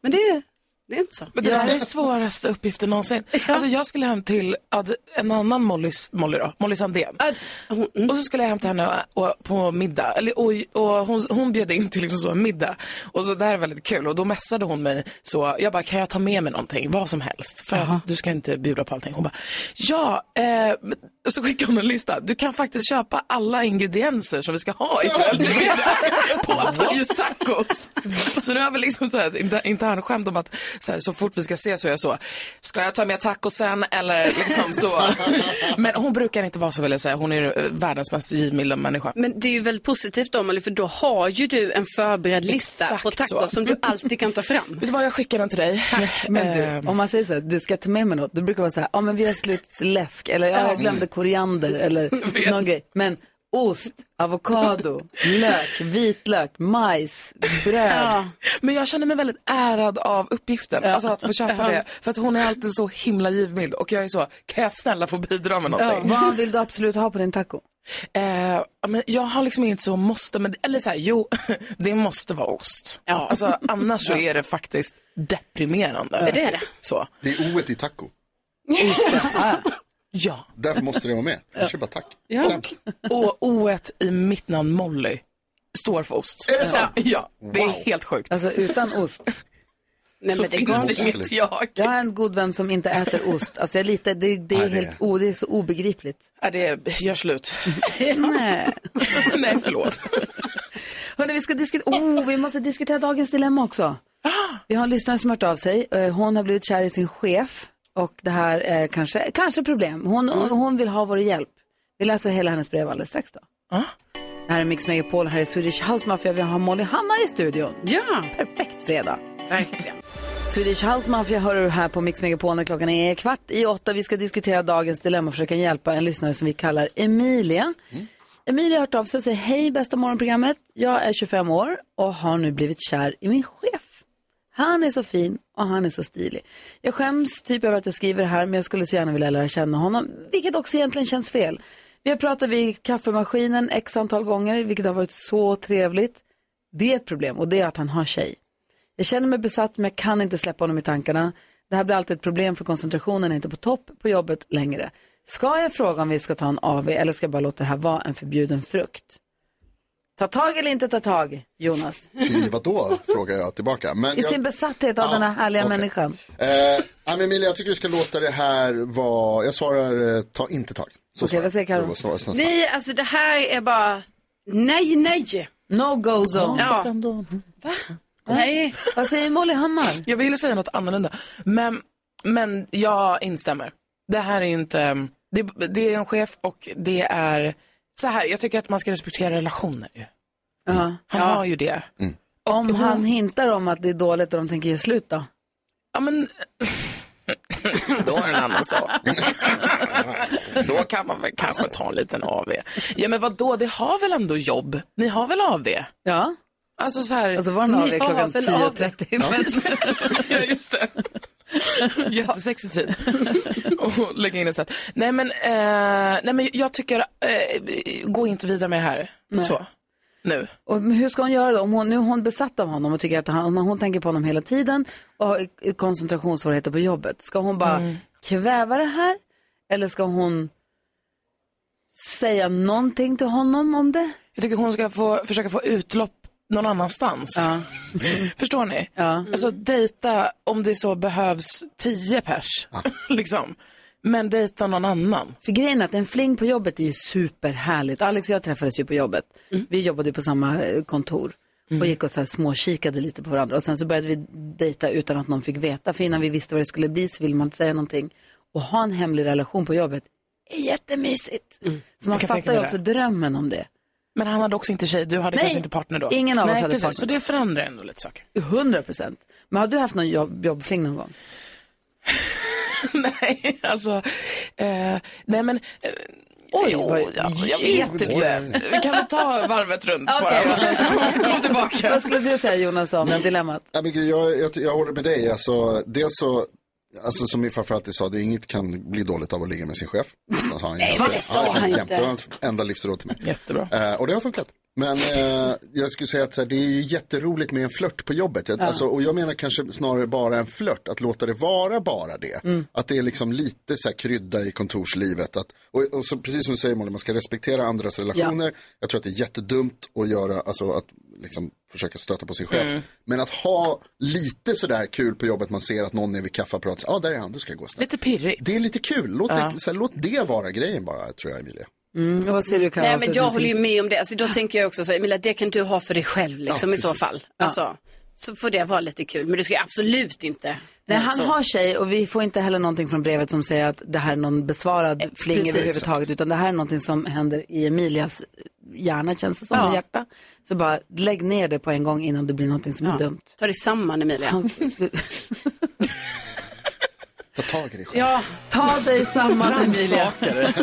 D: Men det, det är inte så.
I: Men det här är svåraste uppgiften någonsin. Alltså jag skulle hem till ja, det- en annan Mollys, Molly då, Molly Sandén.
D: Ja, hon- mm.
I: Och så skulle jag hem till henne och, och, på middag. Eller, och, och hon, hon bjöd in till liksom så en middag. Och så det här är väldigt kul. Och då messade hon mig så. Jag bara, kan jag ta med mig någonting? Vad som helst. För att du ska inte bjuda på allting. Hon bara, ja. Eh, men- och så skickade hon en lista. Du kan faktiskt köpa alla ingredienser som vi ska ha ikväll till middag. [LAUGHS] på Tajus tacos. Så nu har vi liksom så här ett inter- internskämt om att så, här, så fort vi ska ses så är jag så. Ska jag ta med tacosen eller liksom [LAUGHS] så. Men hon brukar inte vara så vill jag säga. Hon är eh, världens mest givmilda människa.
D: Men det är ju väldigt positivt då, Molly, för då har ju du en förberedd lista
I: Exakt
D: på tacos
I: så.
D: som du alltid kan ta
I: [LAUGHS]
D: fram.
I: Vet du vad, jag skickar den till dig. Tack.
B: Ehm.
A: Men du, om man säger så här, du ska ta med mig något, då brukar det vara så här, ja men vi har slut läsk eller ja, jag glömde koriander
B: [LAUGHS]
A: eller någon grej. Men ost, avokado, lök, vitlök, majs, bröd.
I: Men jag känner mig väldigt ärad av uppgiften, alltså att få köpa det. För att hon är alltid så himla givmild och jag är så, kan jag snälla få bidra med någonting?
A: Vad vill du absolut ha på din taco?
I: Eh, men jag har liksom inget så måste, men, eller så här, jo, [LAUGHS] det måste vara ost.
D: Ja.
I: Alltså, annars så är det faktiskt deprimerande.
D: Det är det.
I: Så.
B: Det är oet i taco.
A: Ah,
I: Ja.
B: Därför måste det vara med. Jag kör bara tack.
I: Ja. Och oet i mitt namn Molly står för ost.
B: Är det så?
I: Ja, det är
A: Wow.
I: helt sjukt.
A: Alltså utan ost.
I: Nej,
A: Så
I: men det
A: finns
I: går
A: det
I: inte. Jag.
A: Jag har en god vän som inte äter ost. Alltså jag litar, det, det, är,
I: Nej, det är-
A: helt, o, det är så obegripligt.
I: Ja, det
A: [LAUGHS]
I: gör slut.
A: Nej.
I: Nej, förlåt.
A: Hörrni, vi ska diskutera, oh, vi måste diskutera dagens dilemma också. Vi har en lyssnare som har hört av sig. Eh, Hon har blivit kär i sin chef och det här är kanske, kanske problem. Hon, hon vill ha vår hjälp. Vi läser hela hennes brev alldeles strax då.
I: Ah.
A: Det här är Mix Megapol, här är Swedish House Mafia. Vi har Molly Hammar i studion.
D: Ja.
A: Perfekt fredag.
D: Verkligen.
A: Swedish House Mafia hör du här på Mix Megapol när klockan är kvart i åtta. Vi ska diskutera dagens dilemma och försöka hjälpa en lyssnare som vi kallar Emilia. Emilia har hört av sig och säger hej bästa morgonprogrammet. Jag är 25 år och har nu blivit kär i min chef. Han är så fin och han är så stilig. Jag skäms typ över att jag skriver det här men jag skulle så gärna vilja lära känna honom, vilket också egentligen känns fel. Vi har pratat vid kaffemaskinen x antal gånger, vilket har varit så trevligt. Det är ett problem och det är att han har tjej. Jag känner mig besatt men jag kan inte släppa honom i tankarna. Det här blir alltid ett problem för koncentrationen är inte på topp på jobbet längre. Ska jag fråga om vi ska ta en AV eller ska jag bara låta det här vara en förbjuden frukt? Ta tag eller inte ta tag, Jonas?
B: I vadå, frågar jag tillbaka. Men
A: I
B: jag...
A: sin besatthet av den här härliga människan.
B: Eh, ja, men Emilia, jag tycker du ska låta det här vara, jag svarar eh, ta inte tag. Så
A: Okej,
B: svarar
A: vad säger
B: jag.
A: Karo?
B: Det var snarare snabbt.
D: Nej, alltså det här är bara nej, nej.
A: No-go zone.
D: Ja. Nej.
A: Vad säger Molly Hammar?
I: Jag ville säga något annorlunda, men, men jag instämmer. Det här är ju inte, det, det är en chef och det är så här, jag tycker att man ska respektera relationer. ju.
A: Ja.
I: Han har ju det.
A: Om han hintar om att det är dåligt och de tänker ge slut då?
I: Ja, men... [LAUGHS] Då är det en annan sak. [LAUGHS] Då kan man väl kanske ta en liten AV. Ja men vadå, det har väl ändå jobb? Ni har väl AV?
A: Ja.
I: Alltså så här.
A: Alltså var den
I: ni
A: AV
I: har
A: klockan
I: väl
A: 10.30? [LAUGHS]
I: ja,
D: [LAUGHS]
I: just det. Jättesexig tid. Och lägga in ett sätt. Nej men, eh, nej, men jag tycker, eh, gå inte vidare med det här. Så, nu.
A: Och men hur ska hon göra då? Om hon, nu är hon besatt av honom och tycker att han, hon tänker på honom hela tiden och har i- koncentrationssvårigheter på jobbet. Ska hon bara kväva det här? Eller ska hon säga någonting till honom om det?
I: Jag tycker hon ska få, försöka få utlopp någon annanstans. [LAUGHS] Förstår ni?
A: Ja.
I: Alltså dejta, om det så behövs, tio pers. [LAUGHS] liksom. Men dejta någon annan.
A: För grejen är att en fling på jobbet är ju superhärligt. Alex och jag träffades ju på jobbet.
I: Mm.
A: Vi jobbade ju på samma eh, kontor och gick och så här småkikade lite på varandra. Och sen så började vi dejta utan att någon fick veta. För innan vi visste vad det skulle bli så ville man inte säga någonting. Och ha en hemlig relation på jobbet är jättemysigt. Så man
I: Mm. Jag kan tänka
A: fattar ju
I: mig
A: också
I: det.
A: drömmen om det.
I: Men han hade också inte tjej, du hade
A: Nej,
I: kanske inte partner då?
A: ingen av oss
I: Nej,
A: hade
I: precis,
A: partner.
I: Så det förändrar ändå lite saker. [LAUGHS]
A: 100 procent. Men har du haft någon jobb, jobbfling någon gång?
I: nej, alltså, eh, nej men. Eh, Oj,
A: vad-
I: jag, jag vet inte. Vi kan väl ta
A: [LAUGHS]
I: varvet runt bara. Och sen så kom, kom tillbaka.
A: Vad skulle du säga Jonas om dilemmat?
B: Ja, men Gry, jag, jag, jag håller med dig. Alltså, dels så, alltså, som min farfar alltid sa, det är inget kan bli dåligt av att ligga med sin chef. Det sa han
D: Nej,
B: jämt.
D: det sa
B: Ja,
D: han
B: jämt.
D: inte.
B: Det var hans enda livsråd till mig.
I: Jättebra.
B: Eh, och det har funkat. Men eh, jag skulle säga att så här, det är ju jätteroligt med en flört på jobbet. Jag, alltså, och jag menar kanske snarare bara en flört, att låta det vara bara det.
I: Mm.
B: Att det är liksom lite så här, krydda i kontorslivet. Att, och, och så, precis som du säger Molly, man ska respektera andras relationer. Jag tror att det är jättedumt att göra, alltså att liksom försöka stöta på sin chef.
I: Mm.
B: Men att ha lite sådär kul på jobbet, man ser att någon är vid kaffeapparaten, ja ah, där är han, du ska gå snabbt.
I: Lite pirrigt.
B: Det är lite kul, låt, det, så här, låt det vara grejen bara, tror jag Emilia.
A: Mm, och vad säger du Karin?
D: Nej, men jag håller
A: avslutningsvis?
D: ju med om det. Alltså, då tänker jag också så här, Emilia, det kan du ha för dig själv liksom,
B: Ja,
D: i så
B: precis.
D: fall. Alltså, så får det vara lite kul, men du ska ju absolut inte.
A: Nej,
D: eh,
A: han
D: så.
A: har tjej och vi får inte heller någonting från brevet som säger att det här är någon besvarad fling
D: Eh, precis.
A: överhuvudtaget utan det här är någonting som händer i Emilias hjärna känns det som, och hjärta. Så bara lägg ner det på en gång innan det blir någonting som är dumt.
D: Ta dig samman Emilia.
B: Ta tag i dig själv.
D: Ja,
A: Ta dig samman Emilia.
I: Rannsakare.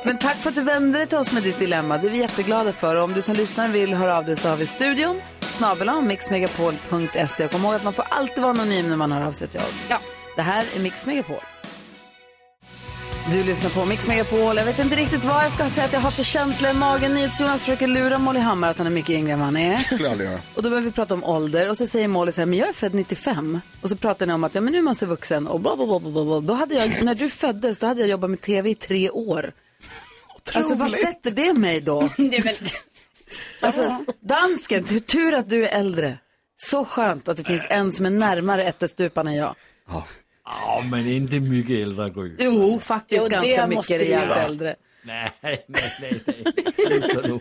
A: [LAUGHS] Men tack för att du vände dig till oss med ditt dilemma, det är vi jätteglada för. Och om du som lyssnar vill höra av dig så har vi studion, snabel-a mixmegapol.se. Och kom ihåg att man får alltid vara anonym när man hör av sig till oss.
D: Ja.
A: Det här är Mix Megapol. Du lyssnar på Mix Megapol. Jag vet inte riktigt vad jag ska säga att jag har för känsla i magen. NyhetsJonas försöker lura Molly Hammar att han är mycket yngre än vad han är.
B: skulle jag aldrig göra.
A: Och då börjar vi prata om ålder och så säger Molly så här, men jag är född 95. Och så pratar ni om att, ja men nu är man så vuxen och bla bla bla bla, bla bla. Då hade jag, när du föddes, då hade jag jobbat med tv i tre år. Alltså vad
L: Otroligt.
A: sätter det mig då? Alltså, dansken, tu- tur att du är äldre. Så skönt att det finns en som är närmare ättestupan än jag.
M: Ja, men inte mycket äldre Gry.
A: Jo, faktiskt
M: Jo, det
A: ganska
M: måste
A: mycket
M: du
A: rejält
M: göra.
A: äldre.
M: Nej, nej, nej. nej. Sluta nu.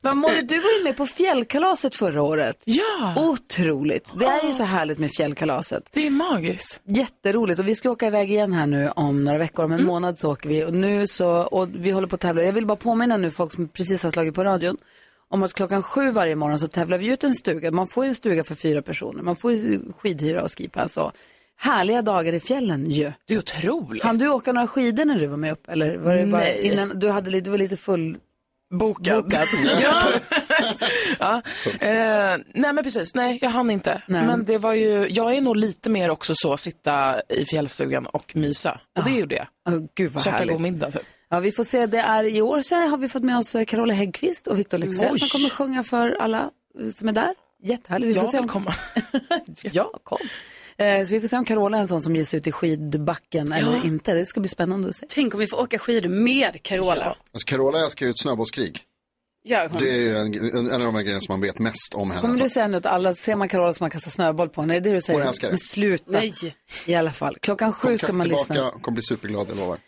A: Men Molly, du var ju med på fjällkalaset förra året.
D: Ja!
A: Otroligt. Det är ju
D: Ah.
A: så härligt med fjällkalaset.
D: Det är magiskt.
A: Jätteroligt. Och vi ska åka iväg igen här nu om några veckor. Om en
D: Mm.
A: månad så åker vi. Och nu så, och vi håller på att tävla. Jag vill bara påminna nu folk som precis har slagit på radion om att klockan sju varje morgon så tävlar vi ut en stuga. Man får ju en stuga för fyra personer. Man får ju skidhyra och skipass och härliga dagar i fjällen ju.
D: Det är otroligt.
A: Hann du åka några skidor när du var med upp? Eller var det bara
D: Nej.
A: innan, du, hade, lite- du var lite full...
D: Bokad. [LAUGHS] ja. ja. Eh, nej men precis, nej jag hann inte. Men det var ju, jag är nog lite mer också så, sitta i fjällstugan och mysa. Och det gjorde jag.
A: Oh, gud vad
D: Käka
A: härligt.
D: god middag typ.
A: Ja, vi får se. Det är i år så har vi fått med oss eh, Carola Häggkvist och Victor Leksell
D: Oj.
A: som kommer sjunga för alla eh, som är där. Jättehärligt. Vi får
D: Jag
A: se om...
D: vill komma.
A: ja, kom. Eh, Så vi får se om Carola är en sån som ger sig ut i skidbacken eller inte. Det ska bli spännande att se.
L: Tänk om vi får åka skidor med Carola.
B: Alltså, Carola älskar ju ett snöbollskrig.
L: Gör hon.
B: Det är ju en, en, en av de här grejerna som man vet mest om henne.
A: Kommer du säga nu att alla ser man Carola som man kastar snöboll på? Nej, det är det du säger.
B: Hon älskar det.
A: Men sluta.
L: Nej.
A: I alla fall. Klockan sju
B: Kom,
A: ska
B: kasta
A: man
B: tillbaka,
A: lyssna.
B: kommer bli superglad, jag lovar.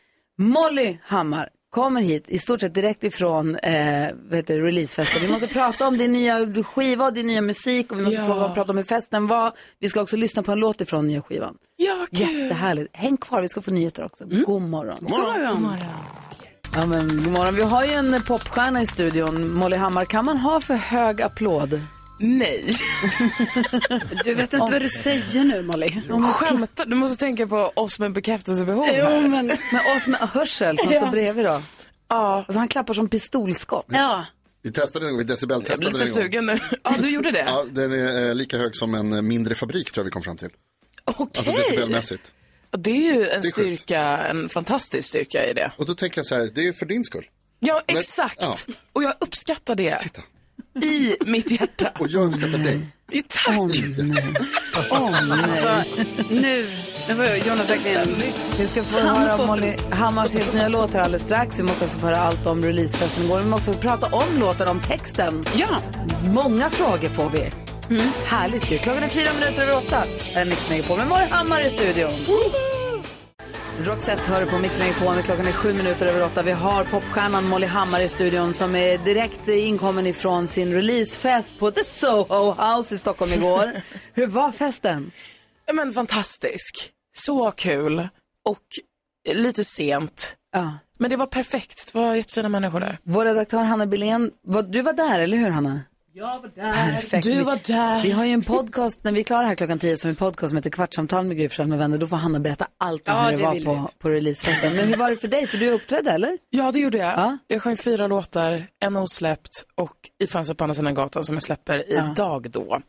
A: Molly Hammar kommer hit i stort sett direkt ifrån eh, vad heter det, releasefesten. Vi måste prata om din nya skiva och din nya musik och vi måste
D: Ja.
A: få prata om hur festen var. Vi ska också lyssna på en låt ifrån nya skivan.
D: Ja,
A: Jättehärligt. Häng kvar, vi ska få nyheter också. God morgon.
L: God morgon. God morgon.
A: Ja, men, god morgon. Vi har ju en popstjärna i studion, Molly Hammar. Kan man ha för hög applåd?
D: Nej.
L: [LAUGHS] Du vet inte vad du säger nu Molly.
D: Skämtar du? måste tänka på oss med bekräftelsebehov
L: Jo,
D: här.
L: men-
A: Men oss med hörsel som
D: Ja.
A: står bredvid då? Ja. Alltså, han klappar som pistolskott.
L: Ja.
B: Vi testade den, vi decibeltestade
D: Jag blir lite
B: den en gång.
D: sugen nu. Ja, du gjorde det?
B: Ja, den är eh, lika hög som en eh, mindre fabrik tror jag vi kom fram till.
D: Okej.
B: Alltså decibelmässigt.
D: Och Det är ju en
B: sjukt.
D: styrka, en fantastisk styrka i det.
B: Och då tänker jag så här, det är ju för din skull.
D: Ja,
B: Men-
D: exakt.
B: ja.
D: Och jag uppskattar det. I mitt
L: [LAUGHS]
D: hjärta.
B: Och jag uppskattar dig.
D: Tack.
L: Alltså, nu, nu får jag Jonas verkligen...
A: Vi ska få
L: Han
A: höra
L: får
A: om Molly Hammars helt nya låt här alldeles strax. Vi måste också få höra allt om releasefesten igår. Vi måste också prata om låten, om texten.
L: Ja. Mm.
A: Många frågor får vi. Härligt ju. Klockan är fyra minuter över åtta. Här är Mix Megapol med Molly Hammar i studion. Roxette hör du på Mix Megapol när klockan är sju minuter över åtta. Vi har popstjärnan Molly Hammar i studion som är direkt inkommen ifrån sin releasefest på The Soho House i
L: [LAUGHS]
A: Stockholm igår. Hur var festen?
D: Ja, Men fantastisk. Så kul. Och lite sent.
A: Ja.
D: Men det var perfekt. Det var jättefina människor där.
A: Vår redaktör Hanna Billén, var- du var där, eller hur Hanna?
N: Jag var där.
A: Perfekt.
D: Du var där.
A: Vi har ju en podcast, när vi är klara här klockan 10, som är en podcast som heter Kvartsamtal med Gry Forssell med vänner. Då får Hanna berätta allt om
D: Ja,
A: hur det,
D: det
A: var
D: vill
A: på, på releasefesten. Men hur var det för dig? För du uppträdde, eller?
D: Ja, det gjorde jag. Jag sjöng fyra låtar, en osläppt och I fanns på andra sidan gatan som jag släpper idag då.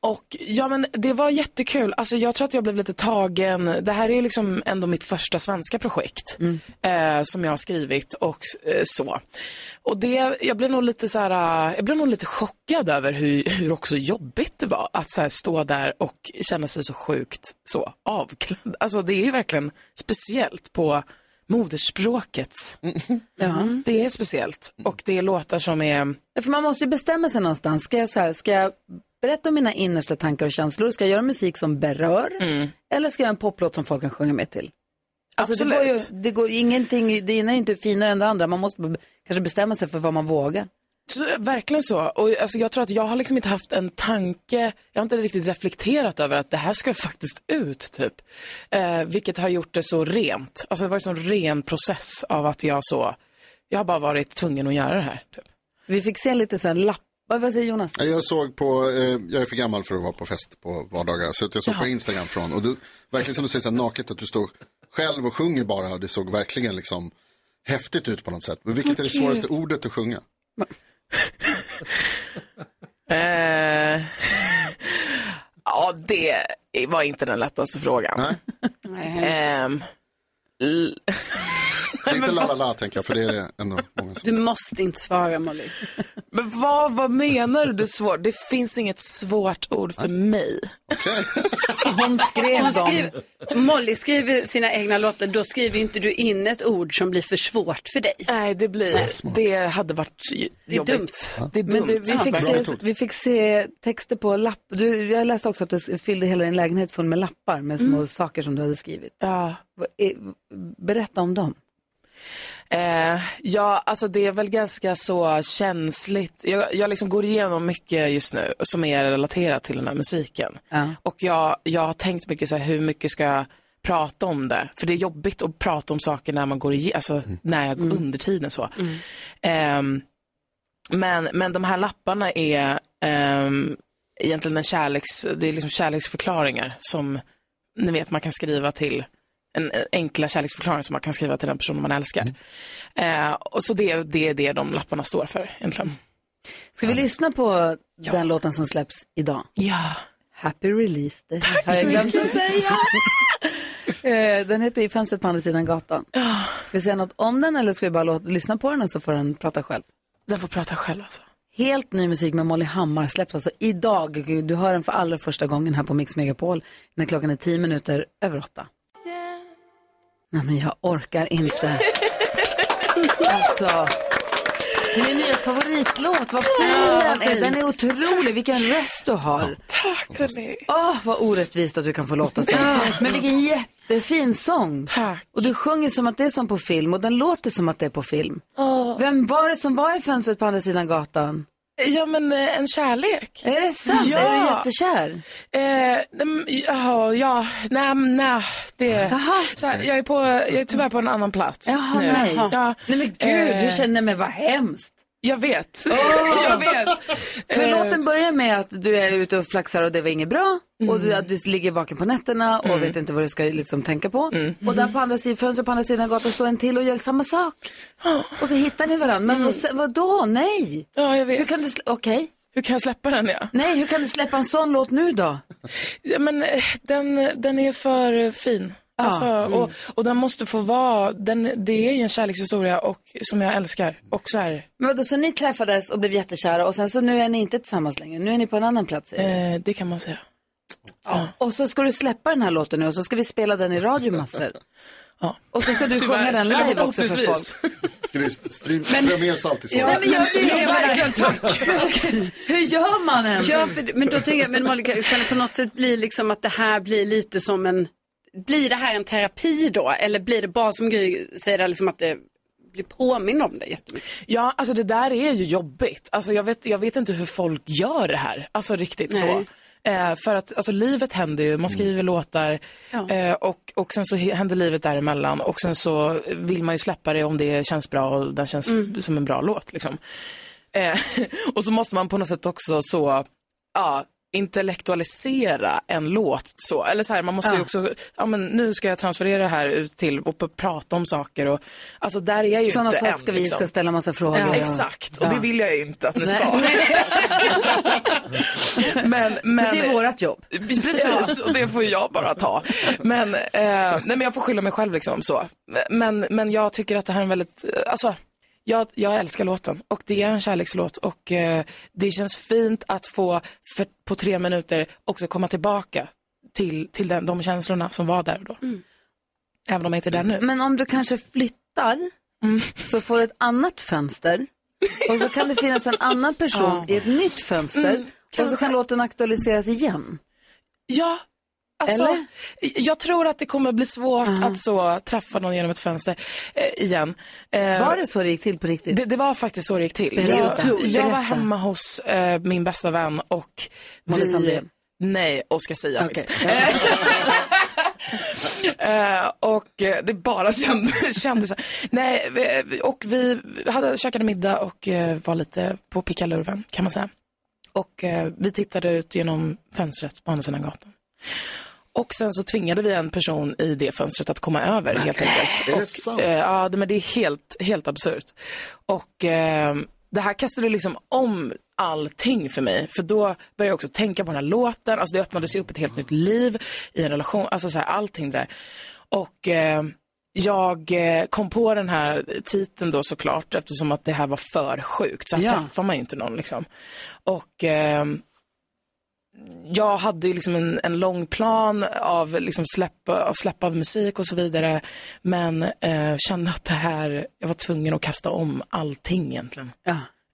D: Och ja, men det var jättekul. Alltså jag tror att jag blev lite tagen. Det här är ju liksom ändå mitt första svenska projekt eh, som jag har skrivit och eh, så. Och det, jag blev nog lite så här, eh, jag blev nog lite chockad över hur, hur också jobbigt det var att så här, stå där och känna sig så sjukt så avklädd. Alltså det är ju verkligen speciellt på moderspråket. Det är speciellt och det är låtar som är
A: För man måste ju bestämma sig någonstans. Ska jag, så här, ska jag berätta om mina innersta tankar och känslor? Ska jag göra musik som berör? Eller ska jag göra en poplåt som folk kan sjunga med till? Alltså, det, går ju,
D: Absolut.
A: det, går, ingenting, det ena är inte finare än det andra. Man måste be- kanske bestämma sig för vad man vågar.
D: Så, verkligen så. Och, alltså, jag tror att jag har liksom inte haft en tanke, jag har inte riktigt reflekterat över att det här ska [LAUGHS] faktiskt ut, typ. Eh, vilket har gjort det så rent. Alltså det var en sån ren process av att jag så, jag har bara varit tvungen att göra det här. Typ.
A: Vi fick se lite så här lappar. Vad säger Jonas?
B: Ja, Jag såg på, eh, jag är för gammal för att vara på fest på vardagar, så att jag såg på Instagram från, och du, verkligen som du säger så här, naket, att du står själv och sjunger bara, och det såg verkligen liksom häftigt ut på något sätt. Men vilket är det
D: Okej.
B: svåraste ordet att sjunga?
D: [LAUGHS] Eh, ja, det var inte den lättaste frågan.
B: Nej.
D: Ehm,
B: Inte la la la tänker jag, för det är det ändå många som...
O: Du måste inte svara Molly.
D: Men vad, vad menar du det är svårt? Det finns inget svårt ord för mig.
A: Hon skrev
O: Hon
A: dem.
O: skriver, Molly skriver sina egna låtar, då skriver inte du in ett ord som blir för svårt för dig.
D: Nej, det blir, det hade varit
O: Det är
D: jobbigt.
O: dumt.
D: Det är dumt.
A: Men du, vi, fick se, vi fick se texter på lapp. Du, jag läste också att du fyllde hela din lägenhet full med lappar med små
O: Mm.
A: saker som du hade skrivit.
D: Ja.
A: Vad är- Berätta om dem.
D: Eh, ja, alltså det är väl ganska så känsligt. Jag, jag liksom går igenom mycket just nu som är relaterat till den här musiken. Och jag, jag har tänkt mycket så här, hur mycket ska jag prata om det? För det är jobbigt att prata om saker när man går igenom, alltså när jag, under tiden så. Ehm, men, men de här lapparna är ehm, egentligen en kärleks, det är liksom kärleksförklaringar som ni vet man kan skriva till en en enkla kärleksförklaring som man kan skriva till den personen man älskar. Eh, och så det, det är det de lapparna står för egentligen.
A: Ska vi lyssna på den låten som släpps idag?
D: Ja.
A: Happy release day. Har
P: så
A: jag glömt
P: mycket
A: det? [LAUGHS] Eh, den heter I fönstret på andra sidan gatan.
P: Ah.
A: Ska vi säga något om den eller ska vi bara låta, lyssna på den och så får den prata själv?
D: Den får prata själv alltså.
A: Helt ny musik med Molly Hammar släpps alltså idag. Gud, Du hör den för allra första gången här på Mix Megapol när klockan är tio minuter över åtta. Nej men jag
P: [LAUGHS]
A: orkar inte. Alltså. Min nya favoritlåt, vad fin den är. Den är otrolig, vilken röst du har.
D: Tack hörni.
A: Åh, vad orättvist att du kan få låta så. Men vilken jättefin sång.
D: Tack.
A: Och du sjunger som att det är som på film och den låter som att det är på film. Vem var det som var i fönstret på andra sidan gatan?
D: Ja men eh, en kärlek.
A: Är det sant?
D: Ja.
A: Är du jättekär?
D: Eh, nej, ja, ja, nej, nej, det. Så här, jag, är på, jag är tyvärr på en annan plats
A: Jaha,
D: nu.
A: nej.
D: Ja. Eh,
A: Nej men gud, hur känner mig? Vad hemskt.
D: Jag vet.
A: Åh.
D: [LAUGHS]
A: [LAUGHS]
D: jag vet. Eh.
A: För låten börjar med att du är ute och flaxar och det var inget bra. Och
D: Mm.
A: du, att du ligger vaken på nätterna och vet inte vad du ska liksom tänka på.
D: Mm.
A: Och där på andra sidan, fönstret på andra sidan gatan står en till och gör samma sak. Och så hittar ni varandra.
D: Mm.
A: Men vad- vadå, nej?
D: Ja, jag vet.
A: Hur kan du, slä- okej.
D: Hur kan jag släppa den ja?
A: Nej, hur kan du släppa en sån låt nu då?
D: Ja, men eh, den, den är för eh, fin.
A: Ah,
D: Alltså,
A: mm.
D: och, och den måste få vara, den, det är ju en kärlekshistoria och, som jag älskar. Och så här,
A: Men vadå, så ni träffades och blev jättekära och sen så nu är ni inte tillsammans längre. Nu är ni på en annan plats. säger du?
D: eh, det kan man säga.
A: Och så ska du släppa den här låten nu och så ska vi spela den i radio massor.
D: [LAUGHS] Ja.
A: Och så ska du
D: Tyvärr.
A: sjunga den live
D: Eller
A: också för
D: förhoppningsvis.
A: folk.
B: Gryst, ström ström ner salt i såren.
D: [LAUGHS] verkligen, tack.
A: Hur gör man ens?
O: Ja, för, men då tänker jag, men Molly, kan kan det på något sätt bli liksom att det här blir lite som en, blir det här en terapi då? Eller blir det bara som Gry säger, där, liksom att det blir påminn om det jättemycket?
D: Ja, alltså det där är ju jobbigt. Alltså jag vet, jag vet inte hur folk gör det här. Alltså riktigt
O: Nej.
D: så. Eh, för att alltså, livet händer ju, man skriver låtar eh, och, och sen så he- händer livet däremellan och sen så vill man ju släppa det om det känns bra och den känns
A: Mm.
D: som en bra låt. Liksom. Eh, [LAUGHS] och så måste man på något sätt också så, ja, intellektualisera en låt så. Eller så här, man måste ju också, ja men nu ska jag transferera det här ut till och p- prata om saker och, alltså där är jag ju
A: Sådana
D: inte
A: saker
D: än,
A: ska vi
D: liksom.
A: ska ställa massa frågor.
D: Ja,
A: och-
D: Exakt, och
A: Ja.
D: det vill jag ju inte att ni
A: Nej. [LAUGHS]
D: ska. [LAUGHS] men, men,
A: Men det är vårt jobb.
D: [LAUGHS] Precis, och det får jag bara ta. Men, eh, nej, men jag får skylla mig själv liksom så. Men, men jag tycker att det här är en väldigt, eh, alltså, jag, jag älskar låten och det är en kärlekslåt och eh, det känns fint att få för, på tre minuter också komma tillbaka till, till den, de känslorna som var där och då.
A: Mm.
D: Även om jag inte är där nu.
A: Men om du kanske flyttar
I: Mm.
A: så får du ett annat fönster och så kan det finnas en annan person i ett nytt fönster
I: Mm.
A: och så kan låten aktualiseras igen.
D: Ja, alltså,
A: Eller?
D: jag tror att det kommer bli svårt att så träffa någon genom ett fönster eh, igen. Eh,
A: Var det så det gick till på riktigt?
D: det, det var faktiskt så det gick till.
A: Berätta.
D: Jag,
A: Otroligt.
D: jag var
A: Berätta.
D: hemma hos eh, min bästa vän och
A: Molly
D: vi...
A: Sandén.
D: Nej, och ska säga
A: Okej.
D: faktiskt. Eh, och eh, det bara [LAUGHS] kändes, kändes så här. Nej, vi- och vi hade, käkade middag och eh, var lite på pickalurven kan man säga. Och eh, vi tittade ut genom fönstret på andra sidan gatan. Och sen så tvingade vi en person i det fönstret att komma över helt enkelt.
B: Är det
D: och,
B: sant?
D: eh, ja, det- men det är helt, helt absurt. Och eh, det här kastade liksom om allting för mig. För då började jag också tänka på den här låten. Alltså det öppnades ju upp ett helt nytt liv i en relation. Alltså så här, allting där. Och eh,
I: Jag eh, kom på den här titeln då såklart eftersom att det här var för sjukt. Så här
A: Ja.
I: träffar man ju inte någon liksom. Och
D: eh,
I: ehm, jag hade ju liksom en, en lång plan av liksom släpp, av släpp av musik och så vidare. Men eh, kände att det här, jag var tvungen att kasta om allting egentligen.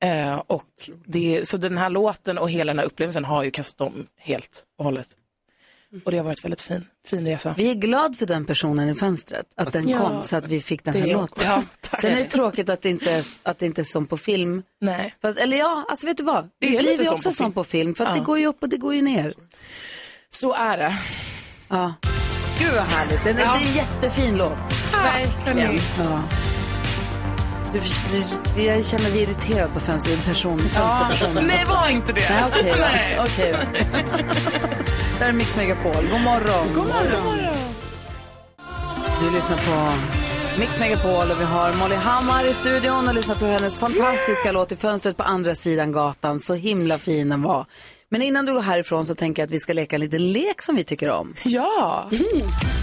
I: Eh, och det, så den här låten och hela den här upplevelsen har ju kastat om helt och hållet. Och det har varit väldigt fin, fin resa.
A: Vi är glad för den personen i fönstret, att den
I: Ja,
A: kom så att vi fick den här
I: det-
A: låten.
I: ja, tack.
A: Sen är det tråkigt att det inte är, att det inte är som på film.
I: Nej.
A: Fast, eller ja, alltså vet du vad?
I: Det är
A: Mitt liv
I: lite
A: är
I: som
A: också
I: på
A: som
I: film.
A: på film, för att
I: Ja.
A: det går ju upp och det går ju ner.
I: Så är det.
A: Ja. Gud vad härligt, den är,
I: Ja.
A: det är en jättefin låt.
I: Verkligen.
A: Ja. Du, du, jag känner mig irriterad på fönster, person, fönsterpersonen.
I: Nej, var inte det.
A: Nej, okej.
I: Nej.
A: då. Okej. Där är Mix Megapol. God morgon. God morgon. Du lyssnar på Mix Megapol och vi har Molly Hammar i studion och lyssnat på hennes fantastiska låt i fönstret på andra sidan gatan. Så himla fin den var. Men innan du går härifrån så tänker jag att vi ska leka en liten lek som vi tycker om. Mm.
I: Ja.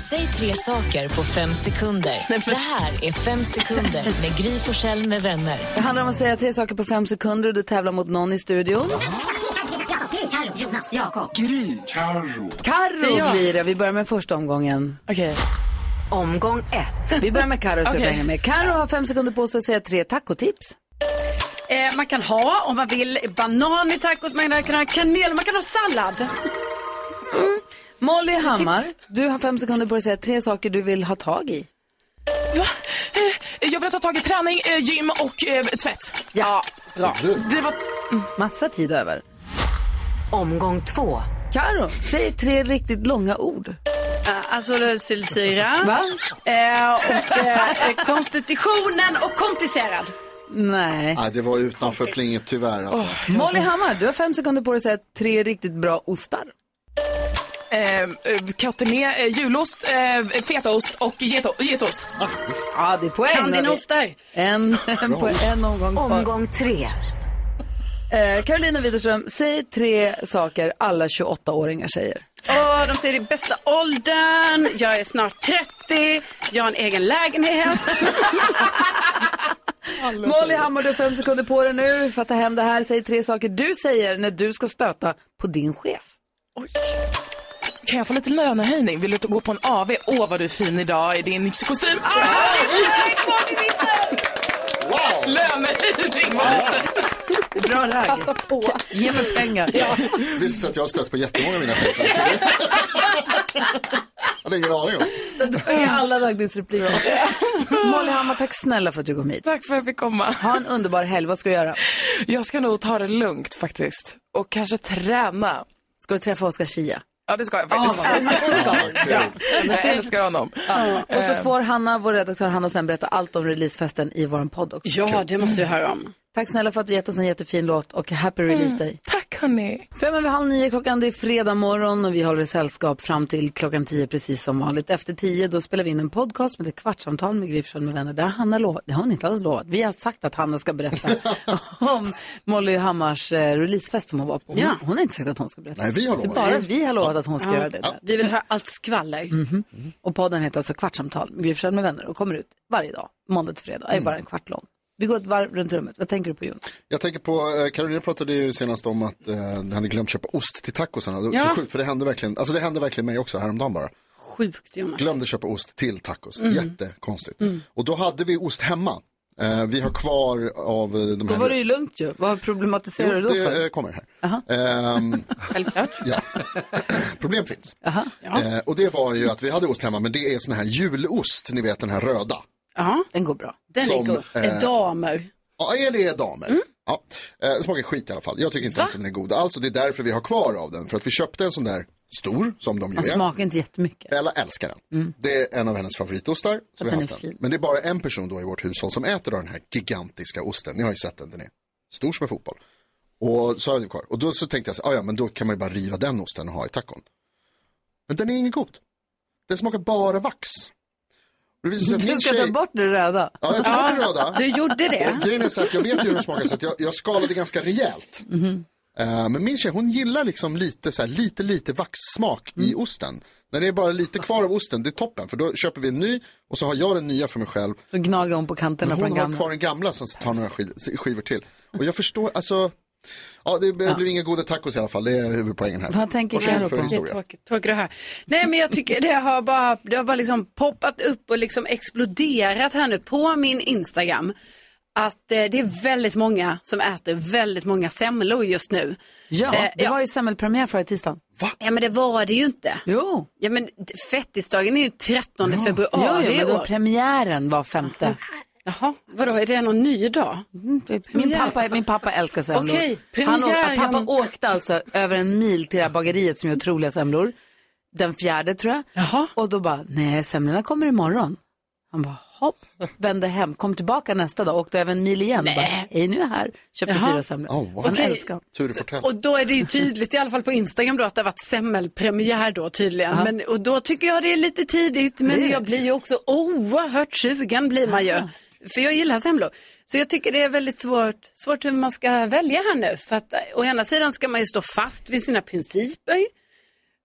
Q: Säg tre saker på fem sekunder. Det här är Fem sekunder med Gry Forssell med vänner.
A: Det handlar om att säga tre saker på fem sekunder och du tävlar mot någon i studion.
Q: Jonas, Jakob.
A: Gry. Carro. Carro blir det. Vi börjar med första omgången.
I: Okej.
A: Omgång ett. Vi börjar med Carro
I: [LAUGHS]
A: så
D: Okej.
A: jag hänger med. Carro har fem sekunder på sig att säga tre tacotips.
D: Eh, man kan ha, om man vill, banan i tacos, man kan ha kanel, man kan ha sallad.
A: Mm. Molly
D: Tips.
A: Hammar, du har fem sekunder på dig att säga tre saker du vill ha tag i.
I: Jag vill ta tag i träning, eh, gym och eh, tvätt.
A: Ja,
I: bra. Det var... Mm.
A: Massa tid över.
Q: Omgång två.
A: Karo, säg tre riktigt långa ord.
D: Eh, alltså lösillsyra.
A: Va?
D: Eh, och, eh, eh, konstitutionen och komplicerad.
A: Nej.
B: Nej, det var utanför plinget tyvärr. Alltså.
A: Molly Hammar, du har fem sekunder på dig att säga tre riktigt bra ostar.
I: Eh, eh, Katemé, eh, julost, eh, fetaost och geto, getost.
A: Ja, det är poäng.
I: Kan din
A: När vi-
I: ostar?
A: En, [LAUGHS] en, på
I: ost.
A: en omgång kvar.
I: Omgång
Q: tre.
A: Eh, Carolina Widerström, säg tre saker alla 28-åringar säger.
D: Åh, de säger det är bästa åldern, jag är snart 30, jag har en egen lägenhet.
A: Molly Hammar, du har fem sekunder på dig nu för att ta hem det här. Säg tre saker du säger när du ska stöta på din chef.
I: Kan jag få lite lönehöjning? Vill du gå på en AV? Åh, vad du är fin idag i din kostym. Ah! Lönehöjning!
A: Bra ragg. Passa
I: på.
A: Ge mig pengar.
B: Visst att jag har stött på jättemånga av mina chefer.
D: [LAUGHS]
B: så det- Jag hade ingen aning om.
A: Jag har alla raggningsrepliker. Molly Hammar, tack snälla för att du kom hit.
I: Tack för att jag fick komma.
A: Ha en underbar helg. Vad ska du göra?
I: Jag ska nog ta det lugnt faktiskt. Och kanske träna.
A: Ska du träffa Oskar Schia?
I: Ja, det ska jag faktiskt.
Q: Ah,
I: Ja, jag älskar honom.
A: Ja. Och så
I: Eh,
A: får Hanna, vår redaktör Hanna, sen berätta allt om releasefesten i vår podd också.
D: Ja, det måste vi höra om.
A: Tack snälla för att du gett oss en jättefin låt och happy release day.
I: Mm. Tack hörni.
A: Fem över halv nio klockan, det är fredag morgon och vi håller sällskap fram till klockan tio precis som vanligt. Efter tio då spelar vi in en podcast med ett kvartsamtal med Gry Forssell med vänner. Där har Hanna lovat, det har hon inte alls lovat. Vi har sagt att Hanna ska
D: [LAUGHS]
A: berätta om Molly Hammars eh, releasefest som hon var på.
D: Ja.
A: Hon har inte sagt att hon ska berätta.
B: Nej, vi har
D: Alltså,
A: Det är
B: lovat.
A: Bara vi har lovat att hon ska
D: Ja.
A: göra det.
D: Ja. Vi vill höra allt skvaller.
A: Mhm. Och podden heter alltså Kvartsamtal med Gry Forssell med vänner och kommer ut varje dag, måndag till fredag. Det är bara en kvart lång. Vi går ett varv runt rummet. Vad tänker du på Jon?
B: Jag tänker på, eh, Carolina pratade ju senast om att eh, du hade glömt köpa ost till tacosarna. Det var
D: Ja.
B: så sjukt för det hände verkligen, alltså det hände verkligen mig också häromdagen bara.
D: Sjukt Jonas.
B: Glömde köpa ost till tacos,
D: Mm.
B: jättekonstigt. Och då hade vi ost hemma. Eh, vi har kvar av eh, de
A: Då
B: här.
A: var det ju lugnt ju. Vad problematiserar du då
B: det
A: för?
B: eh, kommer här. Ehm,
A: [LAUGHS] Självklart.
B: ja. [CLEARS THROAT] Problem finns.
A: Aha.
B: Eh, och det var ju att vi hade ost hemma, men det är sån här julost, ni vet den här röda.
D: Ja.
A: Den går bra.
D: Den
B: Som,
D: är god.
B: eh,
D: Eh, Damer.
B: Ja, eller är damer.
A: Mm.
B: Ja. Eh, smakar skit i alla fall. Jag tycker inte ens att den är god. Alltså det är därför vi har kvar av den. För att vi köpte en sån där stor som de ju
A: Man
B: är.
A: smakar inte jättemycket.
B: Bella älskar den. Det är en av hennes favoritostar. Så
A: Mm.
B: vi
A: den
B: har
A: är
B: haft den.
A: fin.
B: Men det är bara en person då i vårt hushåll som äter av den här gigantiska osten. Ni har ju sett den, den är stor som en fotboll. Och så har vi kvar. Och då så tänkte jag så här, "Ah, ja men då kan man ju bara riva den osten och ha i tacon. Men den är ingen god. Den smakar bara vax. Och det visar sig att min
A: Du ska
B: tjej-
A: ta bort det röda.
B: Ja, jag tog bort det röda.
D: Du gjorde det.
B: Och grejen är så att jag vet ju hur den smakar så att jag, jag skalade ganska rejält.
A: Mm.
B: Eh, men min tjej hon gillar liksom lite så här, lite lite vaxsmak i osten. När det är bara lite kvar av osten, det är toppen. För då köper vi en ny och så har jag den nya för mig själv.
A: Så gnaga om på
B: Men
A: kanterna på
B: hon
A: den
B: har
A: gamla. Mm.
B: kvar den gamla som tar några skiv- skivor till. Och jag förstår, alltså, ja det blev inga goda tacos i alla fall, det är huvudpoängen här.
A: Vad tänker
B: Varsågod
A: Karo
B: för
A: på?
B: historia.
D: Tråkigt, tråkigt det här. Nej men jag tycker det har bara, det har bara liksom poppat upp och liksom exploderat här nu på min Instagram. Att eh, det är väldigt många som äter väldigt många semlor just nu.
A: Ja,
D: Eh,
A: det var ju semmelpremiär förra tisdagen.
D: Ja men det var det ju inte.
A: Jo.
D: Ja men d- fettisdagen är ju 13
A: Ja,
D: februari
A: ja, men
D: i
A: då
D: år.
A: premiären var femte.
D: Jaha, vadå är det någon ny dag?
A: Min pappa, min pappa älskar semlor.
D: Okej,
A: Han åkte,
D: premiären.
A: pappa åkte alltså över en mil till det här bageriet som gör otroliga semlor. Den fjärde tror jag. Och då bara, nej semlorna kommer imorgon. Han bara, hopp, vände hem, kom tillbaka nästa dag, åkte över en mil igen.
D: Nej.
A: Bara, hej nu är jag här, köpte
D: Jaha.
A: fyra semlor.
B: Oh, wow.
A: Han
D: Okej.
A: älskar dem.
B: Tur i fortell.
D: Och då är det ju tydligt i alla fall på Instagram då att det har varit semmelpremiär då tydligen.
A: Ja.
D: Men, och då tycker jag det är lite tidigt men
A: Det är det.
D: jag blir ju också oerhört sugen blir man ju.
A: Ja.
D: För jag gillar semlor. Så jag tycker det är väldigt svårt, svårt hur man ska välja här nu. För att eh, å ena sidan ska man ju stå fast vid sina principer. ju.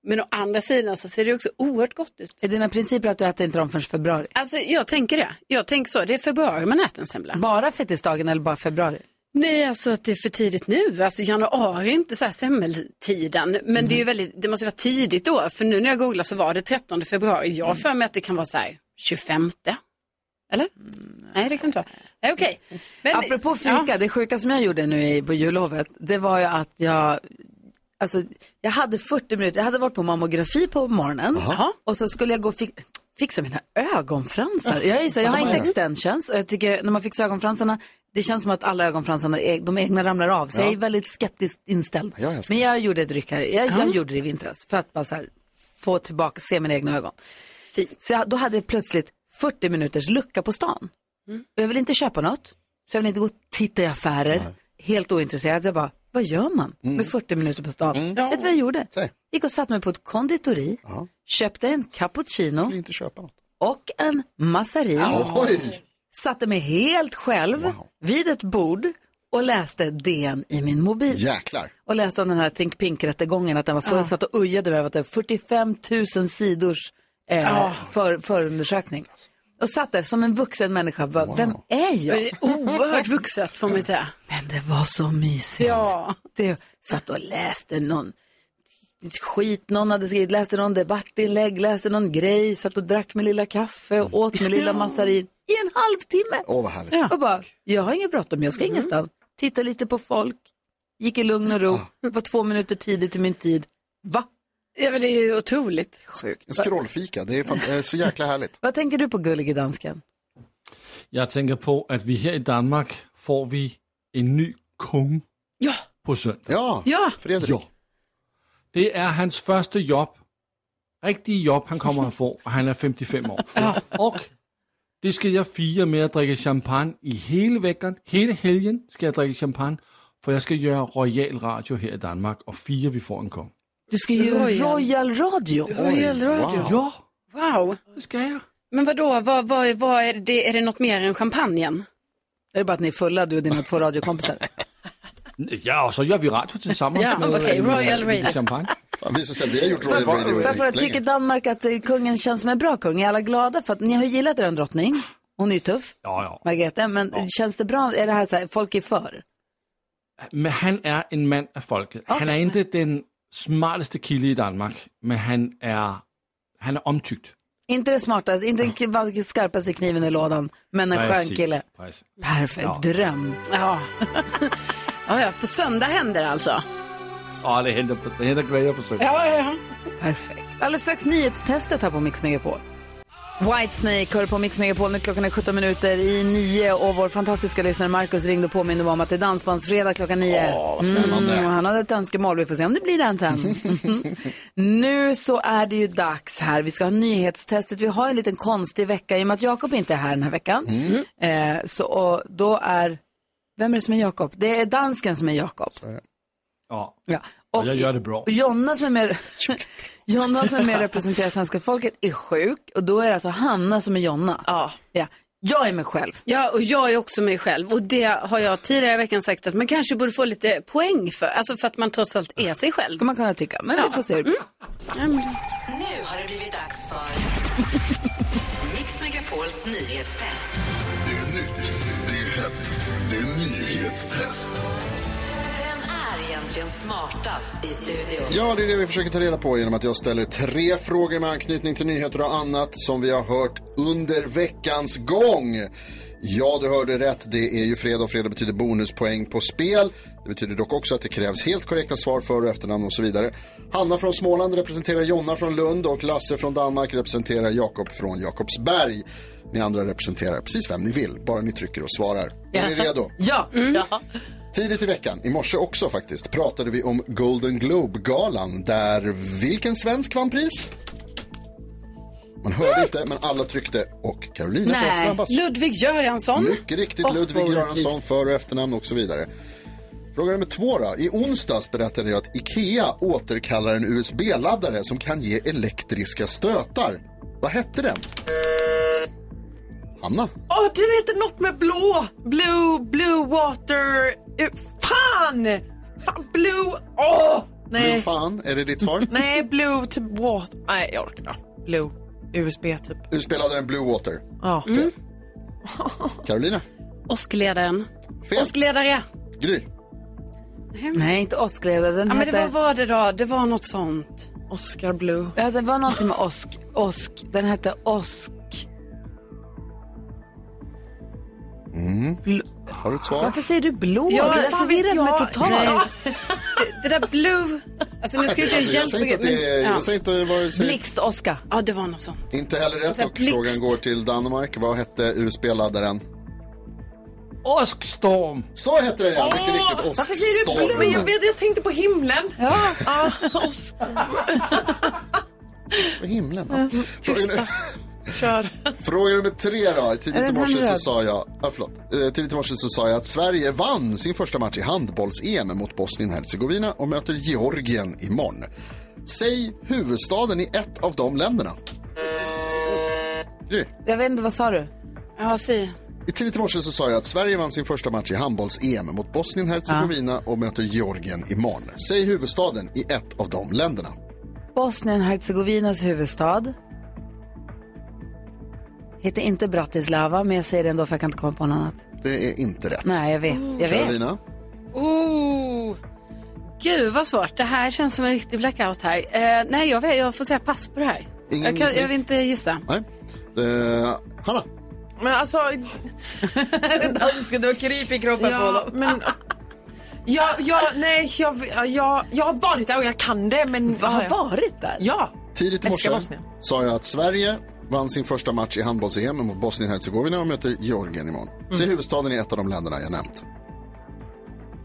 D: Men å andra sidan så ser det ju också oerhört gott ut.
A: Är dina principer att du äter inte dem förrän i februari?
D: Alltså jag tänker det. Jag tänker så. Det är februari man äter en semla.
A: Bara fettisdagen eller bara februari?
D: Nej, alltså att det är för tidigt nu. Alltså januari är inte så här semmeltiden. Men det, är
A: Mhm.
D: ju väldigt, det måste ju vara tidigt då. För nu när jag googlar så var det 13 februari. Jag
A: Mm.
D: har för mig att det kan vara så här 25. Eller? Nej, det kan inte vara. Nej, okej. Men-
A: Mm, Apropå fika, det sjuka som jag gjorde nu i, på jullovet, det var ju att jag, alltså, jag hade 40 minuter, jag hade varit på mammografi på morgonen och så skulle jag gå och fi- fixa mina ögonfransar. Jag, är så, jag har
Q: Som
A: inte
Q: är.
A: extensions och jag tycker när man fixar ögonfransarna, det känns som att alla ögonfransarna, är- de egna ramlar av. Så
Q: Ja.
A: jag är väldigt skeptiskt inställd.
Q: Ja, jag ska-
A: Men jag gjorde ett ryck här, jag,
Q: Ja.
A: jag gjorde det i vintras för att bara så här, få tillbaka, se mina egna ögon. Så jag, då hade jag plötsligt 40 minuters lucka på stan. Och Jag vill inte köpa något, så jag vill inte gå och titta i affärer. Helt ointresserad. Jag bara, vad gör man med 40 minuter på stan? Vet du vad jag gjorde? Gick och satte mig på ett konditori, köpte en cappuccino och en massarin.
B: Oj.
A: Satte mig helt själv vid ett bord och läste DN i min mobil.
B: Jäklar.
A: Och läste om den här Think Pink-rättegången, att den var för,
D: Ja.
A: satt och ujade med att det var 45 000 sidors eh,
D: Ja.
A: för, förundersökning. Och satt där som en vuxen människa, bara, vem är
D: Det
A: jag?
D: är oerhört vuxet får man ju säga.
A: Men det var så mysigt.
D: Ja.
A: Det satt och läste någon skit någon hade skrivit, läste någon debattinlägg, läste någon grej, satt och drack med lilla kaffe och åt med lilla
Q: Ja.
A: massarin i en halvtimme.
B: Åh, vad härligt.
A: Och bara, jag har inget bråttom, jag
D: Mm.
A: ska ingenstans. Titta lite på folk, gick i lugn och ro, var två minuter tidigt till min tid. Va?
D: Ja, men det är ju otroligt.
B: En scrollfika, det är fan, eh, så jäkla härligt.
A: Vad tänker du på gullige dansken?
C: Jeg tænker på, at vi her i Danmark får vi en ny konge på søndag.
B: Ja, Frederik.
C: Jo. Det er hans første job, rigtige job, han kommer at få, og han er 55 år. Og det skal jeg fire med at drikke champagne i hele vækkeren. Hele helgen skal jeg drikke champagne, for jeg skal gøre royal radio her i Danmark, og fire vi får en konge.
A: Du ska ju göra Royal Radio.
D: Royal Radio.
C: Ja.
D: Wow.
C: Det ska jag.
D: Men vadå, vad, vad, vad är, det, är det något mer än champagnen?
A: Är det bara att ni är fulla, du och dina två radiokompisar?
C: Ja, og så gør vi radio til sammen. øh,
A: Ja, okay, Royal Radio.
C: Champagne.
B: Fan, visar sig, vi har gjort Royal Radio
A: För, för att tycker Danmark att eh, kungen känns som en bra kung? Är alla glada för att ni har ju gillat er drottning? Hon är ju tuff,
C: Ja, ja.
A: Margrethe, men känns det bra? Är det här så här, folk är för?
C: Men han er en mand af folket. Han er ikke den smarteste kilde i Danmark, men han er, han er omtykt.
A: Inte det smartaste, inte den k- varken skarpaste kniven i lådan, men en skön kille.
C: Præcis.
A: Perfekt, dröm.
D: Ja. [LAUGHS] ja, ja, på söndag händer det alltså.
C: Åh, det henter, på- det henter glæder på søndag.
D: Ja, ja, ja.
A: Perfekt. Alldeles strax nyhetstestet här på Mix Megapol. Whitesnake hör på Mix Megapol nu klockan är 17 minuter i 9 och vår fantastiska lyssnare Markus ringde och påminde mig om att det är dansbandsfredag klockan 9. Åh,
Q: vad spännande.
A: och han hade ett önskemål, vi får se om det blir den sen.
D: [LAUGHS]
A: nu så är det ju dags här, vi ska ha nyhetstestet. Vi har en liten konstig vecka i och med att Jakob inte är här den här veckan. Eh, så och då är, vem är det som är Jakob? Det är dansken som är Jakob.
C: Ja.
A: Ja.
C: Og jeg gør det bra.
A: Och Jonna som är med, [LAUGHS] Jonna som är med och representerar svenska folket är sjuk och då är det alltså Hanna som är Jonna. Ja. ja. Jag är mig själv.
D: Ja, och jag är också mig själv. Och det har jag tidigare i veckan sagt att man kanske borde få lite poäng för. Alltså för att man trots allt är sig själv. Mm. Ska
A: man kunna tycka. Men vi får se.
Q: Nu har det blivit dags för Mix Megapols nyhetstest.
R: Det är nytt, det är hett, det är nyhetstest.
Q: Vem är egentligen smartast i studion?
B: Ja, det är det vi försöker ta reda på genom att jag ställer tre frågor med anknytning till nyheter och annat som vi har hört under veckans gång. Ja, du hörde rätt. Det är ju fredag och fredag betyder bonuspoäng på spel. Det betyder dock också att det krävs helt korrekta svar för och efternamn och så vidare. Hanna från Småland representerar Jonna från Lund och Lasse från Danmark representerar Jakob från Jakobsberg. Ni andra representerar precis vem ni vill, bara ni trycker och svarar. Är ni redo?
A: Ja.
B: Tidigt i veckan, i morse också faktiskt, pratade vi om Golden Globe-galan där vilken svensk vann pris? Man hörde inte, men alla tryckte och Carolina sköt
D: Nej,
B: snabbast.
D: Ludvig Göransson.
S: Mm.
B: Mycket riktigt
D: Och
B: Ludvig
D: orättvist.
B: Göransson, för och efternamn och så vidare. Fråga nummer två då. I onsdags berättade jag att IKEA återkallar en USB-laddare som kan ge elektriska stötar. Vad hette den? Hanna?
S: Åh, den heter något med blå. Blue, blue water. eh, Fan! Fan, Blue... Åh! nej.
B: Blue fan, är det ditt svar?
S: Nej, blue typ water. Nej, jag orkar inte. Blue. USB typ.
B: USB-laddaren Blue Water.
S: Ja.
D: Mm.
B: [LAUGHS] Carolina?
D: Åskledaren.
B: Fel.
D: Åskledare.
B: Gry?
A: Nej, inte åskledare. Den
D: Ja, men det,
A: hette...
D: vad var det då? Det var något sånt.
S: Oscar Blue.
A: Ja, det var någonting med osk. Osk. Den hette osk.
B: Mm. Har du ett svar?
A: Varför säger du blå?
D: Ja,
A: det är
D: fan
A: förvirrat
D: vet
A: mig
D: jag.
A: totalt.
D: Det, det där blue... Alltså nu ska jag inte
B: Alltså, jag
D: hjälpa...
B: säger inte att det är- jag säger inte vad jag säger.
A: Blixt-Oskar.
D: Ja, det var något sånt.
B: Inte heller rätt och
D: Blixt.
B: frågan går till Danmark. Vad hette USB-laddaren?
C: Åskstorm!
B: Så hette den ja, mycket
S: Åh,
B: riktigt.
S: Varför säger du blue? Men jag,
B: Åskstorm.
S: vet, jag tänkte på himlen.
A: Ja.
S: Ah, os-
B: På himlen.
S: Mm,
B: Ja.
S: Tysta. Kör.
B: [LAUGHS] Fråga nummer tre då.
S: Är
B: Tidigt i
S: den
B: morse så
S: hemröd?
B: sa jag, ja, förlåt. Eh, Tidigt i morse så sa jag att Sverige vann sin första match i handbolls-EM mot Bosnien-Hercegovina och möter Georgien imorgon. Säg huvudstaden i ett av de länderna. Gry.
A: Jag vet inte, vad sa du?
D: Ja, säg.
B: I tidigt i morse så sa jag att Sverige vann sin första match i handbolls-EM mot Bosnien-Hercegovina och möter Georgien imorgon. Säg huvudstaden i ett av de länderna.
A: Bosnien-Hercegovinas huvudstad. Heter inte Bratislava, men jag säger det ändå för jag kan inte komma på något annat.
B: Det är inte rätt.
A: Nej, jag vet. Jag vet.
B: Carolina,
D: Oh. Gud vad svårt. Det här känns som en riktig blackout här. Eh, nej, jag, vet, jag får säga pass på det här.
B: Ingen
D: Jag, kan,
B: gissning?
D: jag vill inte gissa.
B: Nej. Eh, Hanna,
S: Men alltså... Den danska, det var kryp i kroppen
B: på
S: ja,
B: honom.
S: Men, ja, ja, nej, jag, jag, jag har varit där och jag kan det, men...
A: Har varit där?
S: Ja.
B: tidigt i
S: Älskar
B: morse
S: Bosnien.
B: sa jag att Sverige vann sin första match i handbolls-EM mot Bosnien-Hercegovina och möter Georgien imorgon.
S: Mm.
B: Säg huvudstaden i ett av de länderna jag nämnt.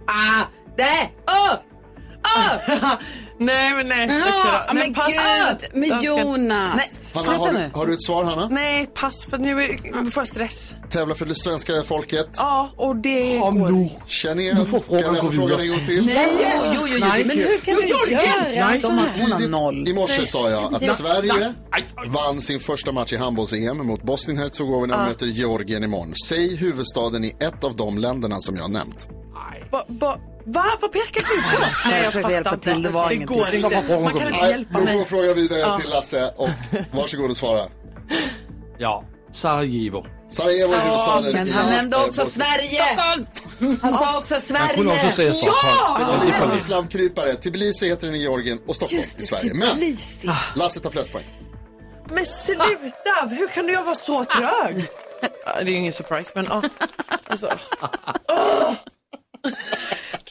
S: Ah, det, oh, oh. [LAUGHS] nej, men nej.
D: Jaha,
S: Okej då.
D: ja,
S: Nej,
D: men
S: pass.
D: gud, men
S: Jag ska-
D: Jonas.
S: Nej,
B: Hanna, har,
S: sluta
B: du-
S: nu.
B: har du ett svar Hanna?
S: Nej, pass, för nu är- nu får jag stress.
B: Tävla för det svenska folket.
S: Ja, och det går nu.
B: Känn igen. Ska jag läsa frågan en gång till?
S: Nej, jo, jo, jo, jo.
B: Nej,
S: men hur kan
D: Jo,
S: du
D: Jörgen.
S: göra
D: Nej.
S: så här?
B: Tidigt i morse
S: Nej.
B: sa jag att
S: Nej.
B: Sverige vann sin första match i handbolls-EM mot Bosnien-Hercegovina och
S: Ja.
B: möter Georgien imorgon. Säg huvudstaden i ett av de länderna som jag nämnt.
S: Ba, ba, va? Vad pekar du på? Nej, jag
A: försökte
S: fattar
A: hjälpa
S: inte.
A: till, det var
S: det
A: ingenting.
S: går inte. Man kan inte
B: Nej,
S: hjälpa
B: då
S: mig.
B: går frågan vidare
S: Ja.
B: till Lasse och varsågod och svara.
C: Ja, Sarajevo.
B: Sarajevo är huvudstaden.
A: Men han
B: i-
A: nämnde också
B: eh, Bosnien.
A: Sverige. Han sa också Sverige.
C: Jag kunde också säga Stockholm.
B: Det var lite av en
A: Ja!
B: slamkrypare. Tbilisi heter den i Georgien och Stockholm
S: Just det,
B: i Sverige. Men
S: Tbilisi.
B: Lasse tar flest poäng.
S: Men sluta! Hur kan jag vara så
D: [LAUGHS]
S: trög? Ja, Det är ingen surprise, men ja. Alltså.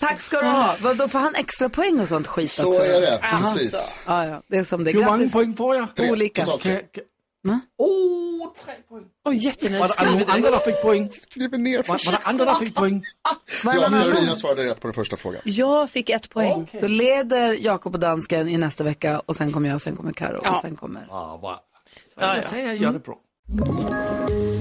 A: Tack ska du ha. Vad, då får han extra poäng och sånt skit
B: Så
A: också.
B: är det,
A: Alltså.
B: precis.
A: Ja, ja, det är som det är.
C: Hur många
A: Grattis.
C: poäng får jag?
A: Tre, Olika. totalt tre.
C: Kan- kan-
S: Åh, tre poäng. Åh, jättenöjd.
C: Var det andra- andra som fick poäng?
B: Skriver ner
C: Var var det andra som fick poäng?
B: Ja, Carolina svarade rätt på den första frågan.
A: Jag fick ett poäng. Då leder Jakob och dansken i nästa vecka och sen kommer jag, sen kommer Karo och sen kommer...
C: Ja, vad... Jag säger jag gör det bra.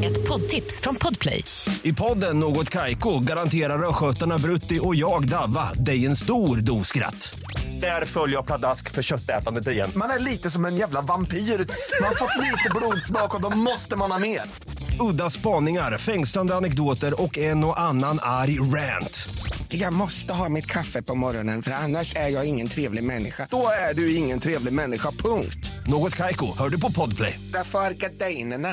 Q: Ett poddtips från Podplay.
T: I podden Något Kaiko garanterar östgötarna Brutti och jag, Davva, dig en stor dos skratt. Där följer jag pladask för köttätandet igen.
M: Man är lite som en jävla vampyr. Man har fått lite blodsmak och då måste man ha mer.
T: Udda spaningar, fängslande anekdoter och en och annan arg rant.
M: Jag måste ha mitt kaffe på morgonen för annars är jag ingen trevlig människa. Då är du ingen trevlig människa, punkt.
T: Något Kaiko, hör du på podplay.
M: Därför arkadeinerna.